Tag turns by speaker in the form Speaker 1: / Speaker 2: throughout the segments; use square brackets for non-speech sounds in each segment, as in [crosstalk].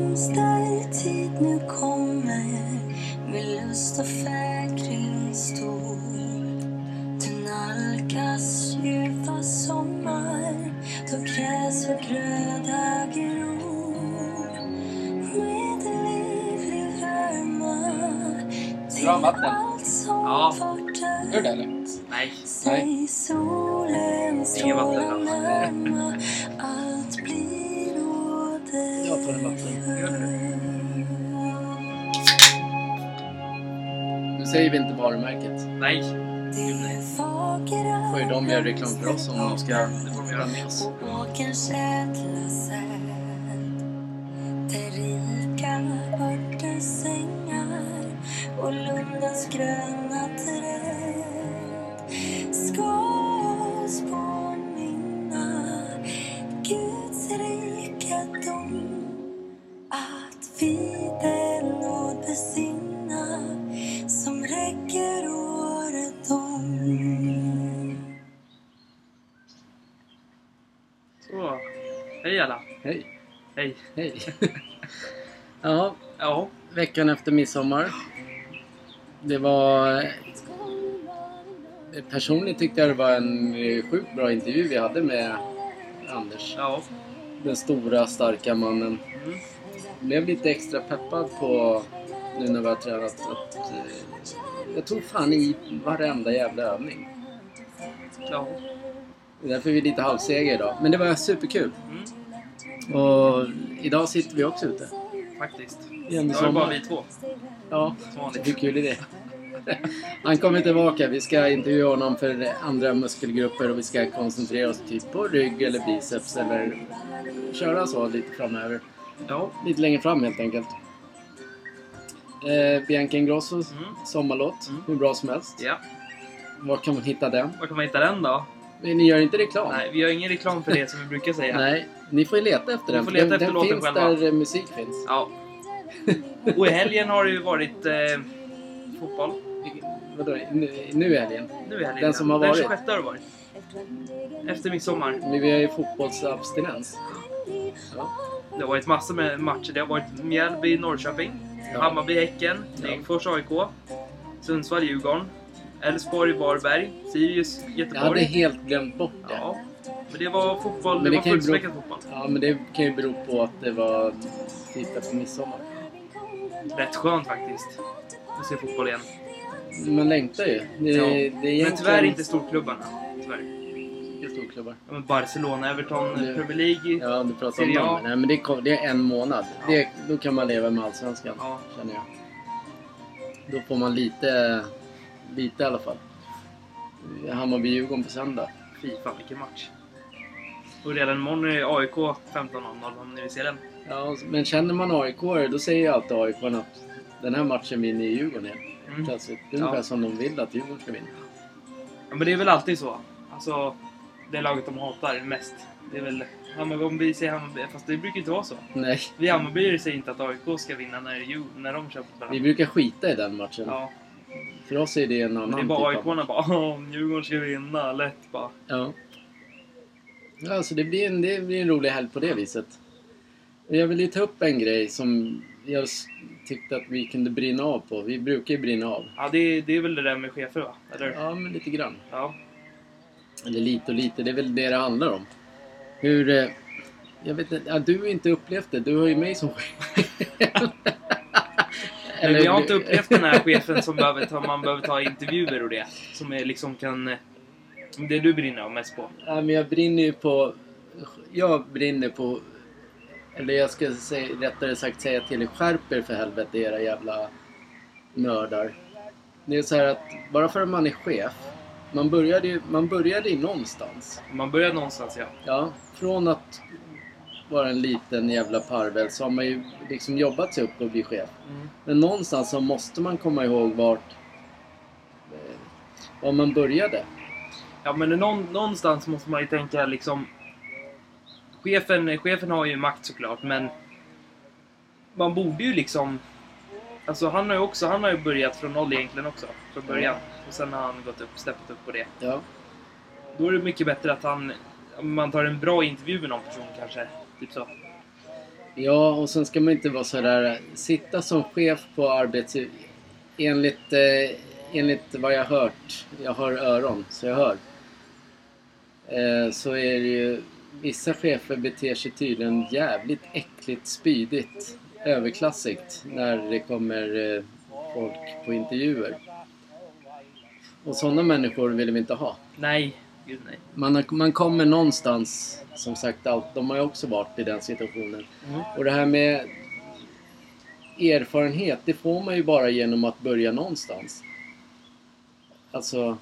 Speaker 1: blomstertid nu kommer med lust och fägring stor. Du nalkas ljuva sommar då gräs och gröda gror. Med livlig värma till
Speaker 2: Bra vatten.
Speaker 1: allt som
Speaker 3: Ja.
Speaker 1: var dött.
Speaker 2: Gör det eller?
Speaker 3: Nej.
Speaker 1: Sig solen
Speaker 3: Ingen vatten
Speaker 1: stråla
Speaker 3: alls.
Speaker 1: närma, allt blir åter
Speaker 4: Jag tar en vatten.
Speaker 3: Gör
Speaker 4: Nu säger vi inte varumärket.
Speaker 3: Nej.
Speaker 1: Det vackra
Speaker 4: Får ju de göra reklam för oss om de ska
Speaker 3: Det får vi
Speaker 4: vara
Speaker 3: göra.
Speaker 4: med oss.
Speaker 1: Åkerns ädla säd Där rika örters sängar och lundens gröna träd ska oss påminna Guds rikedom att vi den nåd besinna som räcker året om
Speaker 3: Så. Hej alla.
Speaker 4: Hej.
Speaker 3: Hej.
Speaker 4: Hej. [laughs] ja,
Speaker 3: Ja.
Speaker 4: veckan efter midsommar. Det var... Personligen tyckte jag det var en eh, sjukt bra intervju vi hade med Anders.
Speaker 3: Ja.
Speaker 4: Den stora, starka mannen.
Speaker 3: Mm.
Speaker 4: Blev lite extra peppad på nu när vi har tränat att... eh, Jag tog fan i varenda jävla övning.
Speaker 3: Ja.
Speaker 4: Det är därför vi är lite halvsega idag. Men det var superkul.
Speaker 3: Mm.
Speaker 4: Och idag sitter vi också ute.
Speaker 3: Faktiskt.
Speaker 4: Igen i
Speaker 3: Då är det bara
Speaker 4: sommar.
Speaker 3: vi två.
Speaker 4: Ja,
Speaker 3: Som vanligt.
Speaker 4: hur kul är det? Han kommer tillbaka. Vi ska intervjua honom för andra muskelgrupper och vi ska koncentrera oss typ på rygg eller biceps eller köra så lite framöver.
Speaker 3: Ja.
Speaker 4: Lite längre fram helt enkelt. Eh, Bianca Ingrossos
Speaker 3: Mm.
Speaker 4: sommarlåt,
Speaker 3: Mm.
Speaker 4: hur bra som helst.
Speaker 3: Ja.
Speaker 4: Var kan man hitta den?
Speaker 3: Var kan man hitta den då?
Speaker 4: Men ni gör inte reklam?
Speaker 3: Nej, vi gör ingen reklam för det som vi brukar säga.
Speaker 4: Nej, ni får ju leta efter
Speaker 3: Ni
Speaker 4: den.
Speaker 3: får
Speaker 4: för
Speaker 3: leta
Speaker 4: den
Speaker 3: efter
Speaker 4: den
Speaker 3: låten
Speaker 4: finns
Speaker 3: själva.
Speaker 4: där eh, musik finns.
Speaker 3: Ja. Och i helgen har det ju varit eh, fotboll.
Speaker 4: Vadå, nu, nu i helgen?
Speaker 3: Nu i helgen.
Speaker 4: Den som har varit.
Speaker 3: Den 26 har det varit. Efter midsommar.
Speaker 4: Men vi har ju fotbollsabstinens. Ja.
Speaker 3: Det har varit massor med matcher. Det har varit Mjällby, Norrköping,
Speaker 4: Ja.
Speaker 3: Hammarby, Häcken, Degerfors, AIK, Sundsvall, Djurgården, Elfsborg, Varberg, Sirius,
Speaker 4: Jag hade
Speaker 3: Göteborg.
Speaker 4: helt glömt bort det.
Speaker 3: Ja, men det var fotboll. Det,
Speaker 4: Men det
Speaker 3: var
Speaker 4: kan ju bero-
Speaker 3: fullspäckad fotboll.
Speaker 4: Ja, men det kan ju bero på att det var titta på midsommar.
Speaker 3: Rätt skönt faktiskt. Att se fotboll igen.
Speaker 4: Man längtar ju. Det,
Speaker 3: Ja.
Speaker 4: det är
Speaker 3: Men
Speaker 4: egentligen
Speaker 3: tyvärr inte storklubbarna. Tyvärr.
Speaker 4: inte storklubbar.
Speaker 3: Ja, men Barcelona, Everton,
Speaker 4: Nu.
Speaker 3: Premier League. Ja.
Speaker 4: Ja, du pratar om
Speaker 3: Serie A.
Speaker 4: dem. Nej, men det, kom, det är en månad.
Speaker 3: Ja.
Speaker 4: Det, då kan man leva med Allsvenskan,
Speaker 3: Ja.
Speaker 4: känner jag. Då får man lite, lite i alla fall. Hammarby-Djurgården på söndag.
Speaker 3: Fy fan vilken match. Och redan imorgon är AIK 15.00 om ni vill se den.
Speaker 4: Ja, men känner man aik då säger ju alltid aik att den här matchen vinner Djurgården helt
Speaker 3: Mm.
Speaker 4: plötsligt. Det är ungefär
Speaker 3: Ja.
Speaker 4: som de vill att Djurgården ska vinna.
Speaker 3: Ja, men det är väl alltid så. Alltså, det laget de hatar mest. Det är väl Hammarby, om vi säger Hammarby, fast det brukar ju inte vara så.
Speaker 4: Nej,
Speaker 3: Vi Hammarbyare säger inte att AIK ska vinna när, ju, när de kör mot
Speaker 4: vi
Speaker 3: varandra.
Speaker 4: brukar skita i den matchen.
Speaker 3: Ja,
Speaker 4: För oss är det en
Speaker 3: men
Speaker 4: annan
Speaker 3: det är bara
Speaker 4: typ av...
Speaker 3: AIK-arna bara [laughs] "Åh, om Djurgården ska vinna, lätt bara.
Speaker 4: Ja. ja, så det blir, en, det blir en rolig helg på det viset. Och jag vill ju ta upp en grej som jag s- tyckte att vi kunde brinna av på. Vi brukar ju brinna av.
Speaker 3: Ja, det, är- det är väl det där med chefer va? Eller? Ja.
Speaker 4: Ja, men lite grann.
Speaker 3: ja.
Speaker 4: Eller lite och lite, det är väl det det handlar om. Hur... eh, Jag vet inte, ja, du har ju inte upplevt det. Du har ju mig som
Speaker 3: Men vi har inte upplevt den här chefen som behöver ta, man behöver ta intervjuer och det. Som är liksom kan... eh, Det du brinner av mest på.
Speaker 4: Nej, men jag brinner ju på... Jag brinner på... Eller jag ska säga, rättare sagt säga till er, skärp er för helvete era jävla nördar. Det är så här att bara för att man är chef, man började ju, man började ju någonstans.
Speaker 3: Man börjar någonstans ja.
Speaker 4: Ja, från att vara en liten jävla parvel så har man ju liksom jobbat sig upp och bli chef.
Speaker 3: Mm.
Speaker 4: Men någonstans så måste man komma ihåg vart... eh, Var man började.
Speaker 3: Ja, men någon, någonstans måste man ju tänka liksom... Chefen, chefen har ju makt såklart, men... Man borde ju liksom... Alltså han har ju också, han har ju börjat från noll egentligen också. Från början. Och sen har han gått upp, steppat upp på det.
Speaker 4: Ja.
Speaker 3: Då är det mycket bättre att han... om Man tar en bra intervju med någon person kanske. Typ så.
Speaker 4: Ja, och sen ska man inte vara sådär... Sitta som chef på arbets... Enligt, eh, enligt vad jag hört, jag har öron så jag hör. Eh, så är det ju... Vissa chefer beter sig tydligen jävligt äckligt, spydigt, överklassigt när det kommer eh, folk på intervjuer. Och sådana människor vill vi inte ha.
Speaker 3: Nej, gud nej.
Speaker 4: Man, har, man kommer någonstans, som sagt, allt. de har ju också varit i den situationen.
Speaker 3: Mm.
Speaker 4: Och det här med erfarenhet, det får man ju bara genom att börja någonstans. Alltså,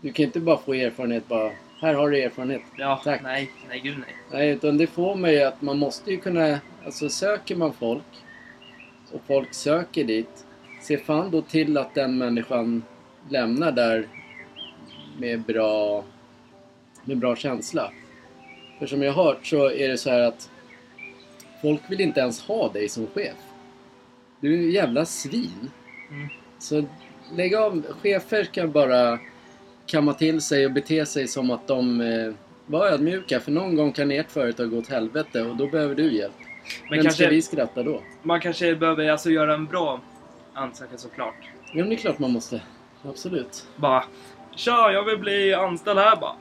Speaker 4: du kan inte bara få erfarenhet bara, här har du erfarenhet.
Speaker 3: Ja,
Speaker 4: Tack.
Speaker 3: nej, nej, gud nej.
Speaker 4: Nej, utan det får man ju att man måste ju kunna, alltså söker man folk och folk söker dit, se fan då till att den människan lämnar där med bra, med bra känsla. För som jag har hört så är det så här att folk vill inte ens ha dig som chef. Du är ju jävla svin.
Speaker 3: Mm.
Speaker 4: Så lägg av, chefer kan bara kamma till sig och bete sig som att de eh, var ödmjuka för någon gång kan ert företag gå åt helvete och då behöver du hjälp.
Speaker 3: Men
Speaker 4: Men Vem
Speaker 3: kanske,
Speaker 4: ska vi skratta då?
Speaker 3: man kanske behöver alltså göra en bra ansökan såklart.
Speaker 4: Jo, men det är klart man måste. Absolut.
Speaker 3: Bara, tja, jag vill bli anställd här bara.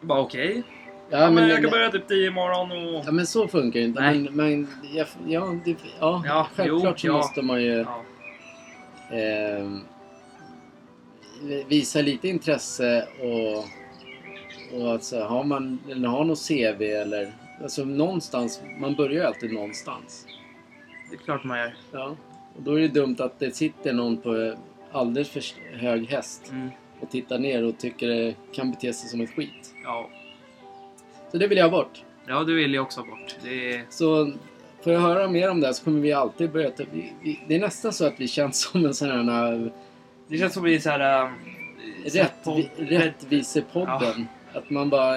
Speaker 3: Bara okej.
Speaker 4: Ja,
Speaker 3: Ja, men
Speaker 4: men,
Speaker 3: jag kan börja typ 10 imorgon och...
Speaker 4: ja, men så funkar det inte.
Speaker 3: Nej.
Speaker 4: Men, men, ja, ja, det, ja,
Speaker 3: Ja,
Speaker 4: självklart
Speaker 3: jo,
Speaker 4: så
Speaker 3: ja.
Speaker 4: måste man ju
Speaker 3: Ja.
Speaker 4: eh, visa lite intresse och, och alltså, har man eller har något CV eller alltså någonstans, man börjar ju alltid någonstans.
Speaker 3: Det är klart man gör.
Speaker 4: Ja. Och då är det dumt att det sitter någon på alldeles för hög häst
Speaker 3: Mm.
Speaker 4: och tittar ner och tycker det kan bete sig som ett skit.
Speaker 3: Ja.
Speaker 4: Så det vill jag ha bort.
Speaker 3: ja, det vill jag också ha bort. Det är...
Speaker 4: Så får jag höra mer om det här så kommer vi alltid börja... ta- vi- vi- Det är nästan så att vi känns som en sån här äh,
Speaker 3: Det känns som vi är såhär... Äh,
Speaker 4: rätt,
Speaker 3: på-
Speaker 4: rättvisepodden. Att man bara...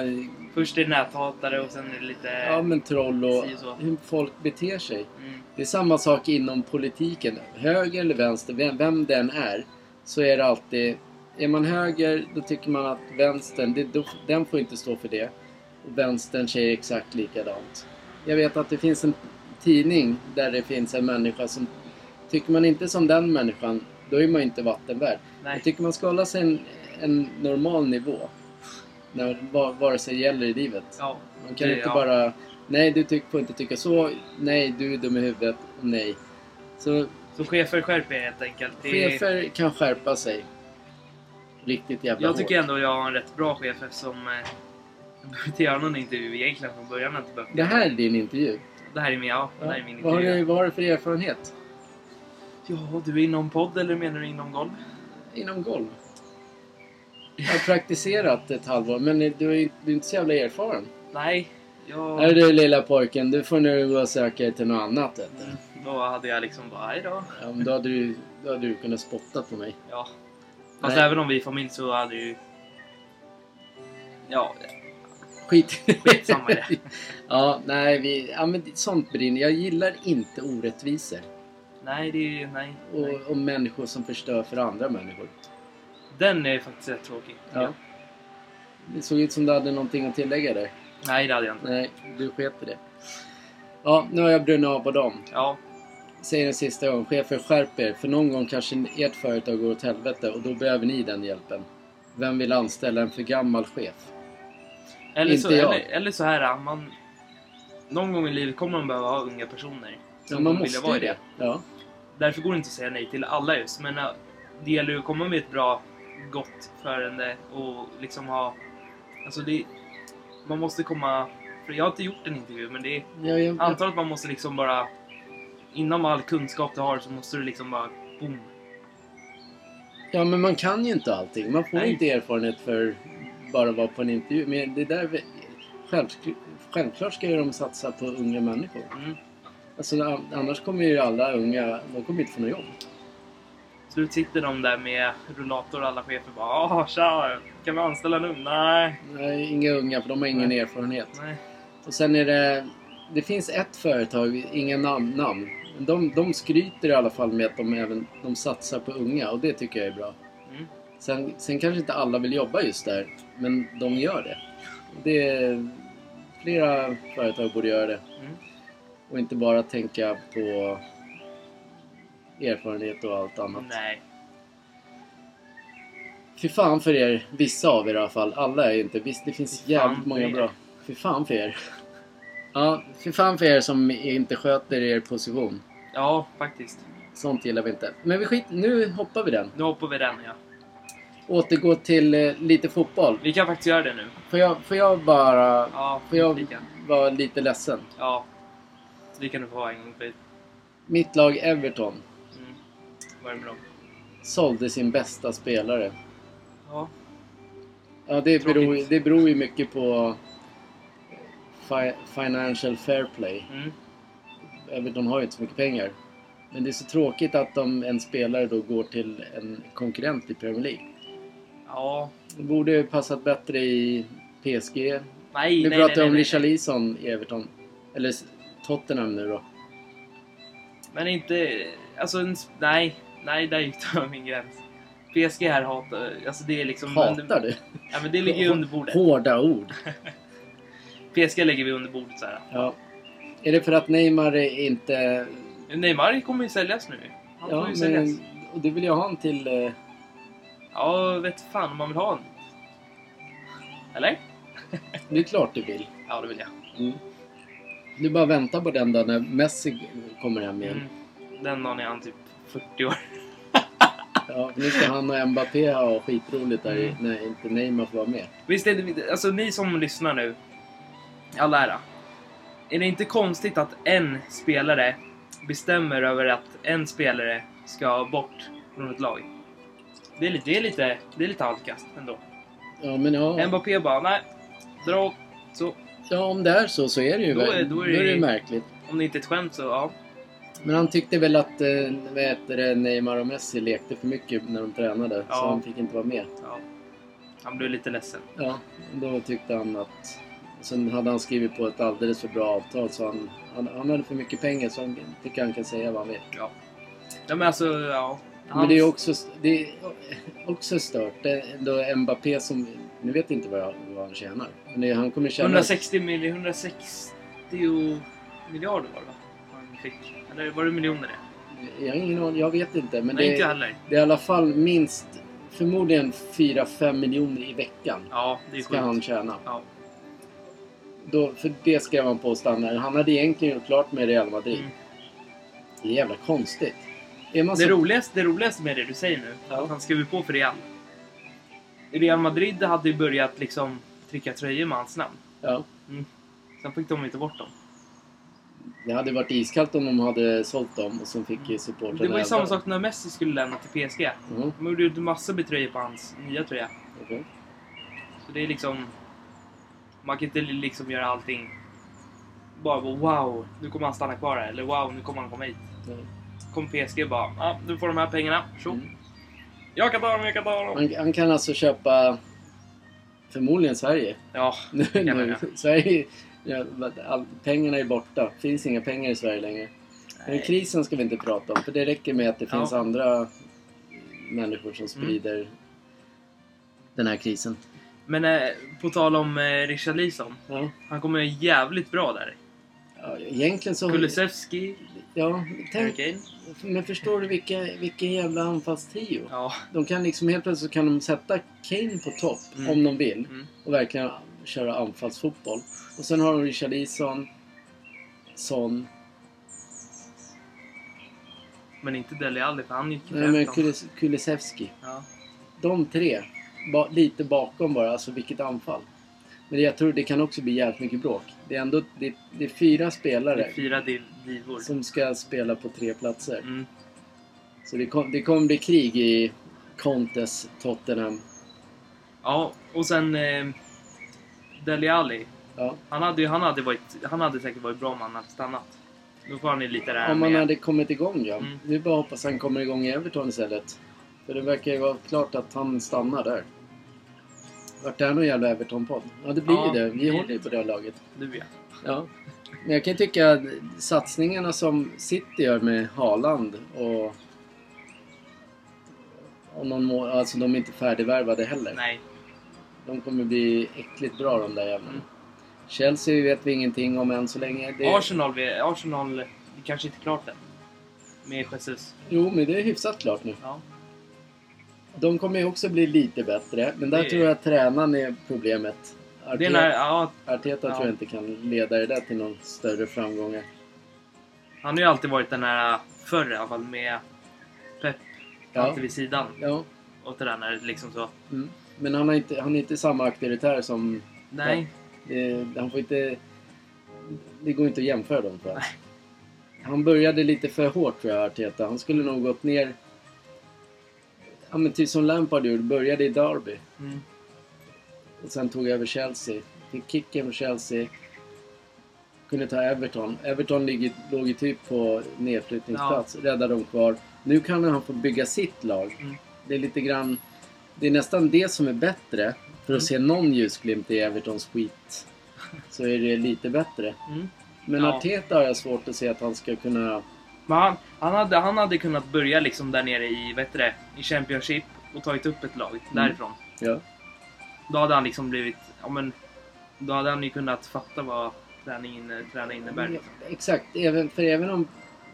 Speaker 3: Först är näthatare och sen är det lite...
Speaker 4: Ja men troll och
Speaker 3: Si och så.
Speaker 4: hur folk beter sig.
Speaker 3: Mm.
Speaker 4: Det är samma sak inom politiken. Höger eller vänster, vem, vem den är, så är det alltid... Är man höger, då tycker man att vänstern, det, då, den får inte stå för det. Och vänstern säger exakt likadant. Jag vet att det finns en tidning där det finns en människa som... Tycker man inte som den människan, då är man inte vattenvärd.
Speaker 3: Nej.
Speaker 4: Jag tycker man ska hålla sig en, en normal nivå. När, vad- vare sig gäller i livet.
Speaker 3: Ja.
Speaker 4: Man kan
Speaker 3: Det-
Speaker 4: inte
Speaker 3: ja.
Speaker 4: bara, nej du tyck, får inte tycka så, nej du är dum i huvudet, nej. Så
Speaker 3: Så chefer skärper er helt enkelt. Det...
Speaker 4: chefer kan skärpa sig. Riktigt jävla
Speaker 3: Jag tycker
Speaker 4: hårt.
Speaker 3: ändå jag har en rätt bra chef eftersom... Eh, [laughs] jag behöver inte göra någon intervju egentligen från början. Jag har Inte behövt
Speaker 4: Det här är
Speaker 3: göra.
Speaker 4: din intervju.
Speaker 3: Det här är min, ja, Det här är min
Speaker 4: vad, har
Speaker 3: intervju.
Speaker 4: du, vad har du för erfarenhet?
Speaker 3: Ja, du är inom podd eller menar du inom golv?
Speaker 4: Inom golv? Jag har praktiserat ett halvår, men du är, ju- du är inte så jävla erfaren.
Speaker 3: Nej. Jag...
Speaker 4: Är du lilla pojken, du får nu gå och söka till något annat. vet du.
Speaker 3: Då hade jag liksom bara, hej då.
Speaker 4: Ja, men då, hade du, då hade du kunnat spotta på mig.
Speaker 3: Ja. Fast
Speaker 4: Nej.
Speaker 3: även om vi är familj så hade ju... Ja,
Speaker 4: Skit
Speaker 3: Skitsamma i det.
Speaker 4: [laughs] Ja, nej, vi, ja, men sånt brinner. Jag gillar inte orättvisor
Speaker 3: nej det är... Nej. nej.
Speaker 4: och, och människor som förstör för andra människor.
Speaker 3: Den är faktiskt rätt tråkig.
Speaker 4: Ja. Det såg ut som du hade någonting att tillägga där.
Speaker 3: Nej, det hade jag inte.
Speaker 4: Nej, du sket i det. Ja, nu har jag brunnit av på dem.
Speaker 3: Ja,
Speaker 4: Säger en sista gång, chefer skärp er, för någon gång kanske ert företag går åt helvete och då behöver ni den hjälpen. Vem vill anställa en för gammal chef?
Speaker 3: eller
Speaker 4: Inte
Speaker 3: så,
Speaker 4: jag.
Speaker 3: eller, eller så här, man... Någon gång i livet kommer man behöva ha unga personer.
Speaker 4: Ja,
Speaker 3: som
Speaker 4: man
Speaker 3: vill
Speaker 4: måste
Speaker 3: vara
Speaker 4: ju
Speaker 3: i
Speaker 4: det. Ja.
Speaker 3: Därför går det inte att säga nej till alla just. Men äh, det gäller ju att komma med ett bra, gott förande och liksom ha... Alltså det... Man måste komma... För jag har inte gjort en intervju, men det är...
Speaker 4: Jag, jag, jag,
Speaker 3: antar att man måste liksom bara... Inom all kunskap du har så måste du liksom bara... Boom.
Speaker 4: Ja, men man kan ju inte allting. Man får
Speaker 3: Nej.
Speaker 4: inte erfarenhet för bara att vara på en intervju. Men det där... vi- Själv, självklart ska ju de satsa på unga människor.
Speaker 3: Mm.
Speaker 4: Alltså, an- annars kommer ju alla unga... De kommer inte få något jobb.
Speaker 3: Slut sitter de där med rullator och alla chefer bara ah tja, kan vi anställa nu? Nej.
Speaker 4: Nej, inga unga för de har ingen erfarenhet.
Speaker 3: Nej.
Speaker 4: Och sen är det... Det finns ett företag, inga namn, namn. De, de skryter i alla fall med att de, även, de satsar på unga och det tycker jag är bra.
Speaker 3: Mm.
Speaker 4: Sen, sen kanske inte alla vill jobba just där, men de gör det. det är, flera företag borde göra det.
Speaker 3: Mm.
Speaker 4: Och inte bara tänka på erfarenhet och allt annat.
Speaker 3: Nej.
Speaker 4: Fy fan för er, vissa av er i alla fall. Alla är inte. Visst, det finns
Speaker 3: Fy fan
Speaker 4: jävligt många
Speaker 3: för er.
Speaker 4: bra. Fy fan för er. Ja, fy fan för er som inte sköter er position.
Speaker 3: Ja, faktiskt.
Speaker 4: Sånt gillar vi inte. Men vi skit, nu hoppar vi den.
Speaker 3: Nu hoppar vi den ja.
Speaker 4: Återgå till eh, lite fotboll.
Speaker 3: Vi kan faktiskt göra det nu.
Speaker 4: Får jag, får jag bara
Speaker 3: Ja,
Speaker 4: får jag
Speaker 3: vi kan.
Speaker 4: vara lite ledsen?
Speaker 3: Ja. Vi kan nog få ha en gång till.
Speaker 4: Mitt lag Everton
Speaker 3: Mm. Vad är det med dem?
Speaker 4: sålde sin bästa spelare.
Speaker 3: Ja.
Speaker 4: Ja, det,
Speaker 3: Tråkigt.
Speaker 4: beror, det beror ju mycket på fi, financial fair play.
Speaker 3: Mm.
Speaker 4: Everton har ju inte så mycket pengar. Men det är så tråkigt att de, en spelare då går till en konkurrent i Premier League.
Speaker 3: Ja.
Speaker 4: Det borde ju passat bättre i PSG.
Speaker 3: Nej,
Speaker 4: Nu pratar
Speaker 3: nej, nej,
Speaker 4: jag om
Speaker 3: nej, nej.
Speaker 4: Richarlison i Everton. Eller s- Tottenham nu då.
Speaker 3: Men inte... Alltså, en, s- nej. Nej, där gick [laughs] du över min gräns. PSG här hatar... Alltså det är liksom...
Speaker 4: Hatar du?
Speaker 3: Ja, men det ligger ju under bordet.
Speaker 4: Hårda ord.
Speaker 3: PSG lägger vi under bordet så här.
Speaker 4: Ja. Är det för att Neymar är inte...
Speaker 3: Neymar kommer ju säljas nu. Han får
Speaker 4: Ja,
Speaker 3: ju
Speaker 4: men...
Speaker 3: säljas.
Speaker 4: Och det vill jag ha en till... eh,
Speaker 3: Ja, vet fan om man vill ha en. Eller?
Speaker 4: Det är klart du vill.
Speaker 3: Ja, det vill jag.
Speaker 4: Mm. Du bara väntar på den dagen när Messi kommer hem igen.
Speaker 3: Mm. Den dagen är han typ 40 år.
Speaker 4: Ja, nu ska han och Mbappé ha skitroligt där i-
Speaker 3: Mm.
Speaker 4: när inte Neymar får vara med.
Speaker 3: Visst är det, alltså ni som lyssnar nu, all ära. Är det inte konstigt att en spelare bestämmer över att en spelare ska bort från ett lag? Det är lite, det är lite, det är lite halvkast ändå.
Speaker 4: Ja, men ja,
Speaker 3: Mbappé bara, nej, dra åt. Så,
Speaker 4: ja, om det är så så är det ju
Speaker 3: Då är-
Speaker 4: ver-
Speaker 3: då
Speaker 4: då
Speaker 3: är
Speaker 4: är det
Speaker 3: det-
Speaker 4: ju märkligt.
Speaker 3: om det inte är ett skämt så, ja.
Speaker 4: Men han tyckte väl att eh, vad heter det, Neymar och Messi lekte för mycket när de tränade, så
Speaker 3: Ja.
Speaker 4: han fick inte vara med.
Speaker 3: ja. Han blev lite ledsen.
Speaker 4: Ja, då tyckte han att... Sen hade han skrivit på ett alldeles för bra avtal, så han, han, han hade för mycket pengar så han tycker han kan säga vad han vill.
Speaker 3: Ja. ja men alltså, ja.
Speaker 4: Men det är också, det är också stört. Det är då Mbappé som... Nu vet jag inte vad, jag, vad han tjänar. Men det, han kommer tjäna...
Speaker 3: 160 miljoner, 160 miljarder var det va? Han fick. Eller var det miljoner det?
Speaker 4: Jag har ingen aning, jag vet inte. Men
Speaker 3: Nej,
Speaker 4: det,
Speaker 3: inte jag
Speaker 4: är,
Speaker 3: heller.
Speaker 4: det är i alla fall minst... Förmodligen 4-5 miljoner i veckan
Speaker 3: Ja, det är
Speaker 4: ska han tjäna.
Speaker 3: Ja.
Speaker 4: Då, för det skrev han på standard. Han hade egentligen gjort klart med Real Madrid.
Speaker 3: Mm.
Speaker 4: Det är jävla konstigt. Är man
Speaker 3: Det,
Speaker 4: så...
Speaker 3: roligaste, det roligaste med det du säger nu,
Speaker 4: Ja.
Speaker 3: att han skrev på för Real. Real Madrid hade ju börjat liksom trycka tröjor med hans namn. Mm.
Speaker 4: Ja.
Speaker 3: Sen fick de inte bort dem.
Speaker 4: Det hade varit iskallt om de hade sålt dem och sen fick ju supportrarna...
Speaker 3: Det var ju
Speaker 4: elda
Speaker 3: samma
Speaker 4: dem.
Speaker 3: sak när Messi skulle lämna till PSG.
Speaker 4: Mhm,
Speaker 3: De gjorde ju massor med tröjor på hans nya tröja.
Speaker 4: okej.
Speaker 3: Så det är liksom... Man kan inte liksom göra allting... Bara på, wow, nu kommer han stanna kvar här. Eller wow, nu kommer han komma hit.
Speaker 4: Nej.
Speaker 3: Kom PSG bara, ja, du får de här pengarna. Tjo.
Speaker 4: Mm.
Speaker 3: Jag kan ta dem, jag kan ta dem.
Speaker 4: Han, han kan alltså köpa förmodligen Sverige. [laughs]
Speaker 3: Ja,
Speaker 4: Nu,
Speaker 3: kan han
Speaker 4: nu. Sverige ja, vad- all, pengarna är borta. finns inga pengar i Sverige längre. Men
Speaker 3: Nej.
Speaker 4: krisen ska vi inte prata om för det räcker med att det
Speaker 3: Ja. Mm.
Speaker 4: finns andra människor som sprider den här krisen.
Speaker 3: Men eh, på tal om eh, Richarlison.
Speaker 4: Ja.
Speaker 3: Han kommer göra jävligt bra där.
Speaker 4: Ja, egentligen så...
Speaker 3: Kulusevski,
Speaker 4: Ja,
Speaker 3: Harry
Speaker 4: tänk,
Speaker 3: Kane.
Speaker 4: men förstår du vilka, vilken jävla anfallstrio?
Speaker 3: Ja,
Speaker 4: De kan liksom helt plötsligt så kan de sätta Kane på topp
Speaker 3: Mm.
Speaker 4: om de vill
Speaker 3: Mm.
Speaker 4: och verkligen köra anfallsfotboll. Och sen har de Richarlison, Son,
Speaker 3: men inte Dele Alli för han gick
Speaker 4: nej, eh, men
Speaker 3: ju till
Speaker 4: Kulis- Kulusevski.
Speaker 3: Ja.
Speaker 4: De tre, ba, lite bakom bara, alltså vilket anfall. Men jag tror det kan också bli jävligt mycket bråk. Det är ändå det, det är fyra
Speaker 3: Det
Speaker 4: spelare
Speaker 3: är fyra div- divor.
Speaker 4: som ska spela på tre platser.
Speaker 3: Mm.
Speaker 4: Så det, kom, det kommer bli krig i Contes Tottenham.
Speaker 3: Ja, och sen eh, Dele Alli.
Speaker 4: Ja.
Speaker 3: Han hade, ju- han, hade varit, han hade säkert varit bra om han hade stannat. Då får han ju lite det här
Speaker 4: Om han
Speaker 3: med...
Speaker 4: hade kommit igång ja.
Speaker 3: Mm.
Speaker 4: Nu bara hoppas han kommer igång i Everton istället. För det verkar ju vara klart att han stannar där. Vart är någon jävla Everton-podd? Ja, det blir
Speaker 3: Ja,
Speaker 4: ju det.
Speaker 3: det
Speaker 4: Vi
Speaker 3: blir
Speaker 4: håller ju
Speaker 3: det.
Speaker 4: på det här laget.
Speaker 3: Du ja.
Speaker 4: Ja. Men jag kan ju tycka att satsningarna som City gör med Haaland och... Om någon må, alltså de är inte färdigvärvade heller.
Speaker 3: Nej.
Speaker 4: De kommer bli äckligt bra de där jävlarna.
Speaker 3: Mm.
Speaker 4: Chelsea vet vi ingenting om än så länge. Det...
Speaker 3: Arsenal, vi, Arsenal, det kanske inte är klart än. Med Jesus.
Speaker 4: Jo, men det är hyfsat klart nu.
Speaker 3: Ja.
Speaker 4: De kommer ju också bli lite bättre, men där
Speaker 3: Det-
Speaker 4: tror jag att tränaren är problemet. Arteta,
Speaker 3: Det är när, ja,
Speaker 4: Arteta
Speaker 3: ja.
Speaker 4: tror jag inte kan leda det där till någon större framgångar.
Speaker 3: han har ju alltid varit den här, förr i alla fall, med Pep
Speaker 4: Ja.
Speaker 3: alltid vid sidan
Speaker 4: Ja,
Speaker 3: och tränare liksom så.
Speaker 4: mm. Men han, har inte, han är inte samma auktoritär som...
Speaker 3: Nej,
Speaker 4: Eh, han får inte... Det går inte att jämföra dem tror jag. Han började lite för hårt tror jag, Arteta. Han skulle nog gått ner... Ja men typ som Lampard gjorde, började i Derby.
Speaker 3: mm.
Speaker 4: Och sen tog jag över Chelsea. Fick kicken från Chelsea. Kunde ta Everton. Everton ligger, låg ju typ på nedflyttningsplats. Räddade dem kvar. Nu kan han få bygga sitt lag.
Speaker 3: Mm.
Speaker 4: Det är lite grann... Det är nästan det som är bättre. För att
Speaker 3: Mm.
Speaker 4: se någon ljusglimt i Evertons skit så är det lite bättre.
Speaker 3: Mm.
Speaker 4: Men
Speaker 3: Ja.
Speaker 4: Arteta har jag svårt att se att han ska kunna...
Speaker 3: Men han, han, hade, han hade kunnat börja liksom där nere i, vet du det, i Championship och tagit upp ett lag därifrån.
Speaker 4: Ja.
Speaker 3: Då hade han liksom blivit, ja men, då hade han ju kunnat fatta vad träning, inne- träna innebär.
Speaker 4: Mm.
Speaker 3: Liksom.
Speaker 4: Exakt. Även, för även om...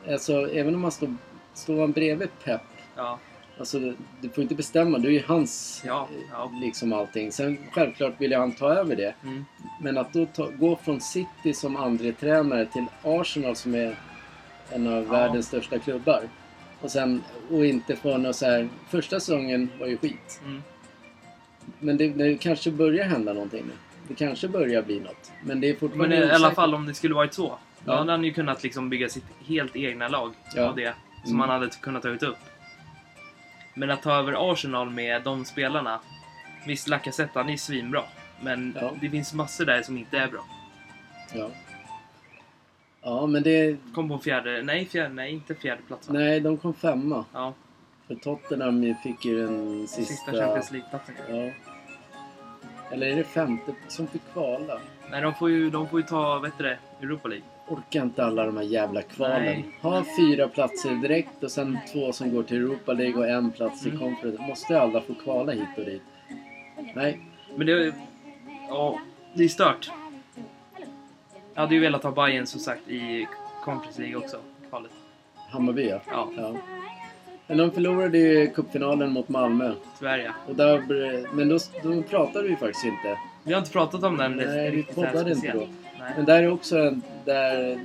Speaker 4: Alltså, även om man står, står man bredvid Pep
Speaker 3: Ja,
Speaker 4: Alltså, du- du får inte bestämma. Du är ju hans,
Speaker 3: Ja,
Speaker 4: eh,
Speaker 3: ja.
Speaker 4: liksom allting. Sen självklart vill han ta över det.
Speaker 3: mm.
Speaker 4: Men att då ta, gå från City som andre tränare till Arsenal som är en av
Speaker 3: Ja.
Speaker 4: världens största klubbar. Och sen, och inte få något så här... Första säsongen var ju skit.
Speaker 3: Mm.
Speaker 4: Men det, det kanske börjar hända någonting nu. Det kanske börjar bli något. Men det är fortfarande
Speaker 3: Men i alla
Speaker 4: osäkert.
Speaker 3: fall om det skulle varit så. Då
Speaker 4: Ja.
Speaker 3: hade han ju kunnat liksom bygga sitt helt egna lag
Speaker 4: Ja.
Speaker 3: av det. Som
Speaker 4: Mm.
Speaker 3: han hade t- kunnat tagit upp. Men att ta över Arsenal med de spelarna. Visst, Lacazette han är svinbra. Men
Speaker 4: Ja.
Speaker 3: det finns massor där som inte är bra.
Speaker 4: Ja. ja, men det...
Speaker 3: Kom på fjärde, nej fjärde, nej inte fjärde plats va?
Speaker 4: Nej, de kom femma.
Speaker 3: Ja,
Speaker 4: För Tottenham fick ju den
Speaker 3: sista,
Speaker 4: sista...
Speaker 3: Champions League-platsen.
Speaker 4: Ja. Eller är det femte som fick kvala?
Speaker 3: Nej, de får ju, de får ju ta, vet du det, Europa League.
Speaker 4: Orkar inte alla de här jävla kvalen.
Speaker 3: Nej.
Speaker 4: Ha fyra platser direkt och sen två som går till Europa League och en plats till
Speaker 3: Mm.
Speaker 4: Conference. Måste alla få kvala hit och dit? Nej.
Speaker 3: Men det, ja, det är stört. Jag hade ju velat ha Bayern som sagt i Conference League också, kvalet.
Speaker 4: Hammarby ja.
Speaker 3: Ja.
Speaker 4: Men de förlorade ju cupfinalen mot Malmö.
Speaker 3: Tyvärr ja.
Speaker 4: Och där, bre- men då, då pratade vi faktiskt inte.
Speaker 3: Vi har inte pratat om den
Speaker 4: Nej, vi
Speaker 3: riktigt så här
Speaker 4: poddade inte
Speaker 3: speciellt.
Speaker 4: då. Men
Speaker 3: Nej.
Speaker 4: där är också en... Där,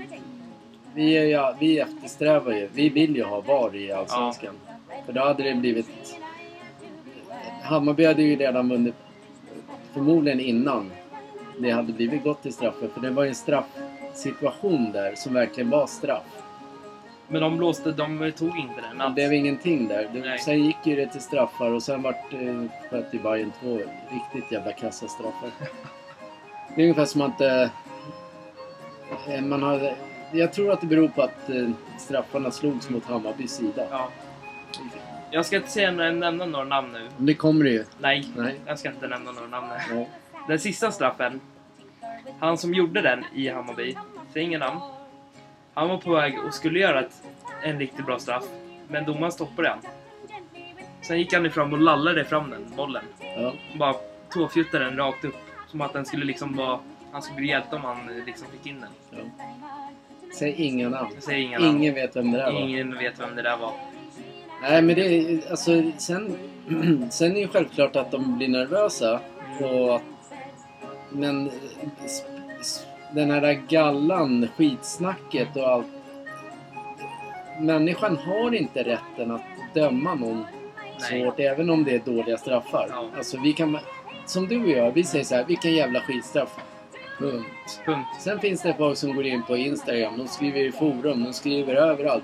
Speaker 4: vi, är, ja, vi eftersträvar ju. Vi vill ju ha VAR i Allsvenskan. För då hade det blivit Hammarby hade ju redan vunnit förmodligen innan det hade blivit gått till straffen. För det var ju en straffsituation där som verkligen var straff.
Speaker 3: Men de blåste, de tog inte den
Speaker 4: Det
Speaker 3: alls.
Speaker 4: blev ingenting där. Det,
Speaker 3: Nej.
Speaker 4: sen gick ju det till straffar och sen vart eh, sköt ju Bayern två riktigt jävla kassa
Speaker 3: [laughs]
Speaker 4: straffar. Det är ungefär som att eh, eh, man har... Jag tror att det beror på att eh, straffarna slogs mot Hammarbys sida.
Speaker 3: Ja. Jag ska inte säga, nämna några namn nu.
Speaker 4: Men det kommer det ju.
Speaker 3: Nej,
Speaker 4: Nej.
Speaker 3: jag ska inte nämna några namn nu.
Speaker 4: Ja.
Speaker 3: Den sista straffen, han som gjorde den i Hammarby, säg inga namn. Han var på väg och skulle göra ett, en riktigt bra straff, men domaren stoppade han. Sen gick han ifrån och lallade fram den bollen.
Speaker 4: Ja.
Speaker 3: Bara tåfjuttade den rakt upp. Som att den skulle liksom vara... Han skulle bli hjälte om han eh, liksom fick in den.
Speaker 4: Ja. Säg inga namn.
Speaker 3: Jag säger inga namn.
Speaker 4: Ingen vet vem det där var.
Speaker 3: Ingen vet vem det där var.
Speaker 4: Nej, men det är, alltså, sen, [clears throat] sen är ju självklart att de blir nervösa. Och att, men s- s- den här där gallan, skitsnacket och allt. Människan har inte rätten att döma någon
Speaker 3: Nej.
Speaker 4: svårt, även om det är dåliga straffar.
Speaker 3: Ja.
Speaker 4: Alltså, vi kan, som du och jag, vi säger så här, vilken jävla skitstraff. Punkt.
Speaker 3: Punkt.
Speaker 4: Sen finns det folk som går in på Instagram, de skriver i forum, de skriver överallt.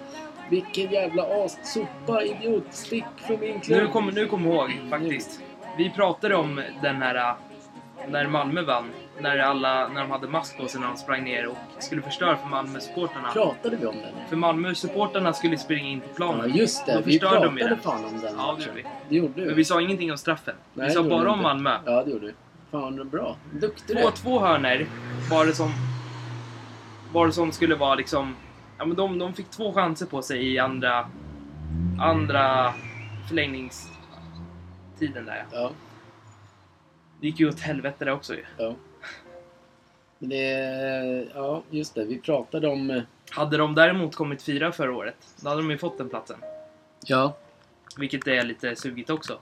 Speaker 4: Vilken jävla as, sopa, idiot, stick från min klubb.
Speaker 3: Nu kommer nu kom ihåg faktiskt. Vi pratade om den här eh, när Malmö vann. När, alla, när de hade mask på sig när de sprang ner och skulle förstöra för Malmö-supportrarna.
Speaker 4: Pratade vi om den?
Speaker 3: För Malmö-supportrarna skulle springa in på
Speaker 4: Ja,
Speaker 3: planen.
Speaker 4: just det.
Speaker 3: Då
Speaker 4: Vi
Speaker 3: förstörde de ju
Speaker 4: pratade
Speaker 3: det.
Speaker 4: fan om den
Speaker 3: Ja, det
Speaker 4: matchen.
Speaker 3: gjorde vi.
Speaker 4: Det gjorde du.
Speaker 3: Men vi sa ingenting om straffen.
Speaker 4: Nej,
Speaker 3: vi
Speaker 4: det
Speaker 3: sa
Speaker 4: gjorde
Speaker 3: bara
Speaker 4: vi
Speaker 3: om
Speaker 4: inte.
Speaker 3: Malmö.
Speaker 4: Ja, det gjorde du. Fan, vad bra. Duktig
Speaker 3: Två,
Speaker 4: du
Speaker 3: två hörner var det som... Var det som skulle vara liksom... Ja, men de, de fick två chanser på sig i andra... Andra förlängningstiden där ja.
Speaker 4: Ja,
Speaker 3: Det gick ju åt helvete där också ju.
Speaker 4: ja. Det, ja, just det. Vi pratade om... eh,
Speaker 3: Hade de däremot kommit fyra förra året, då hade de ju fått den platsen.
Speaker 4: Ja.
Speaker 3: Vilket är lite sugigt också,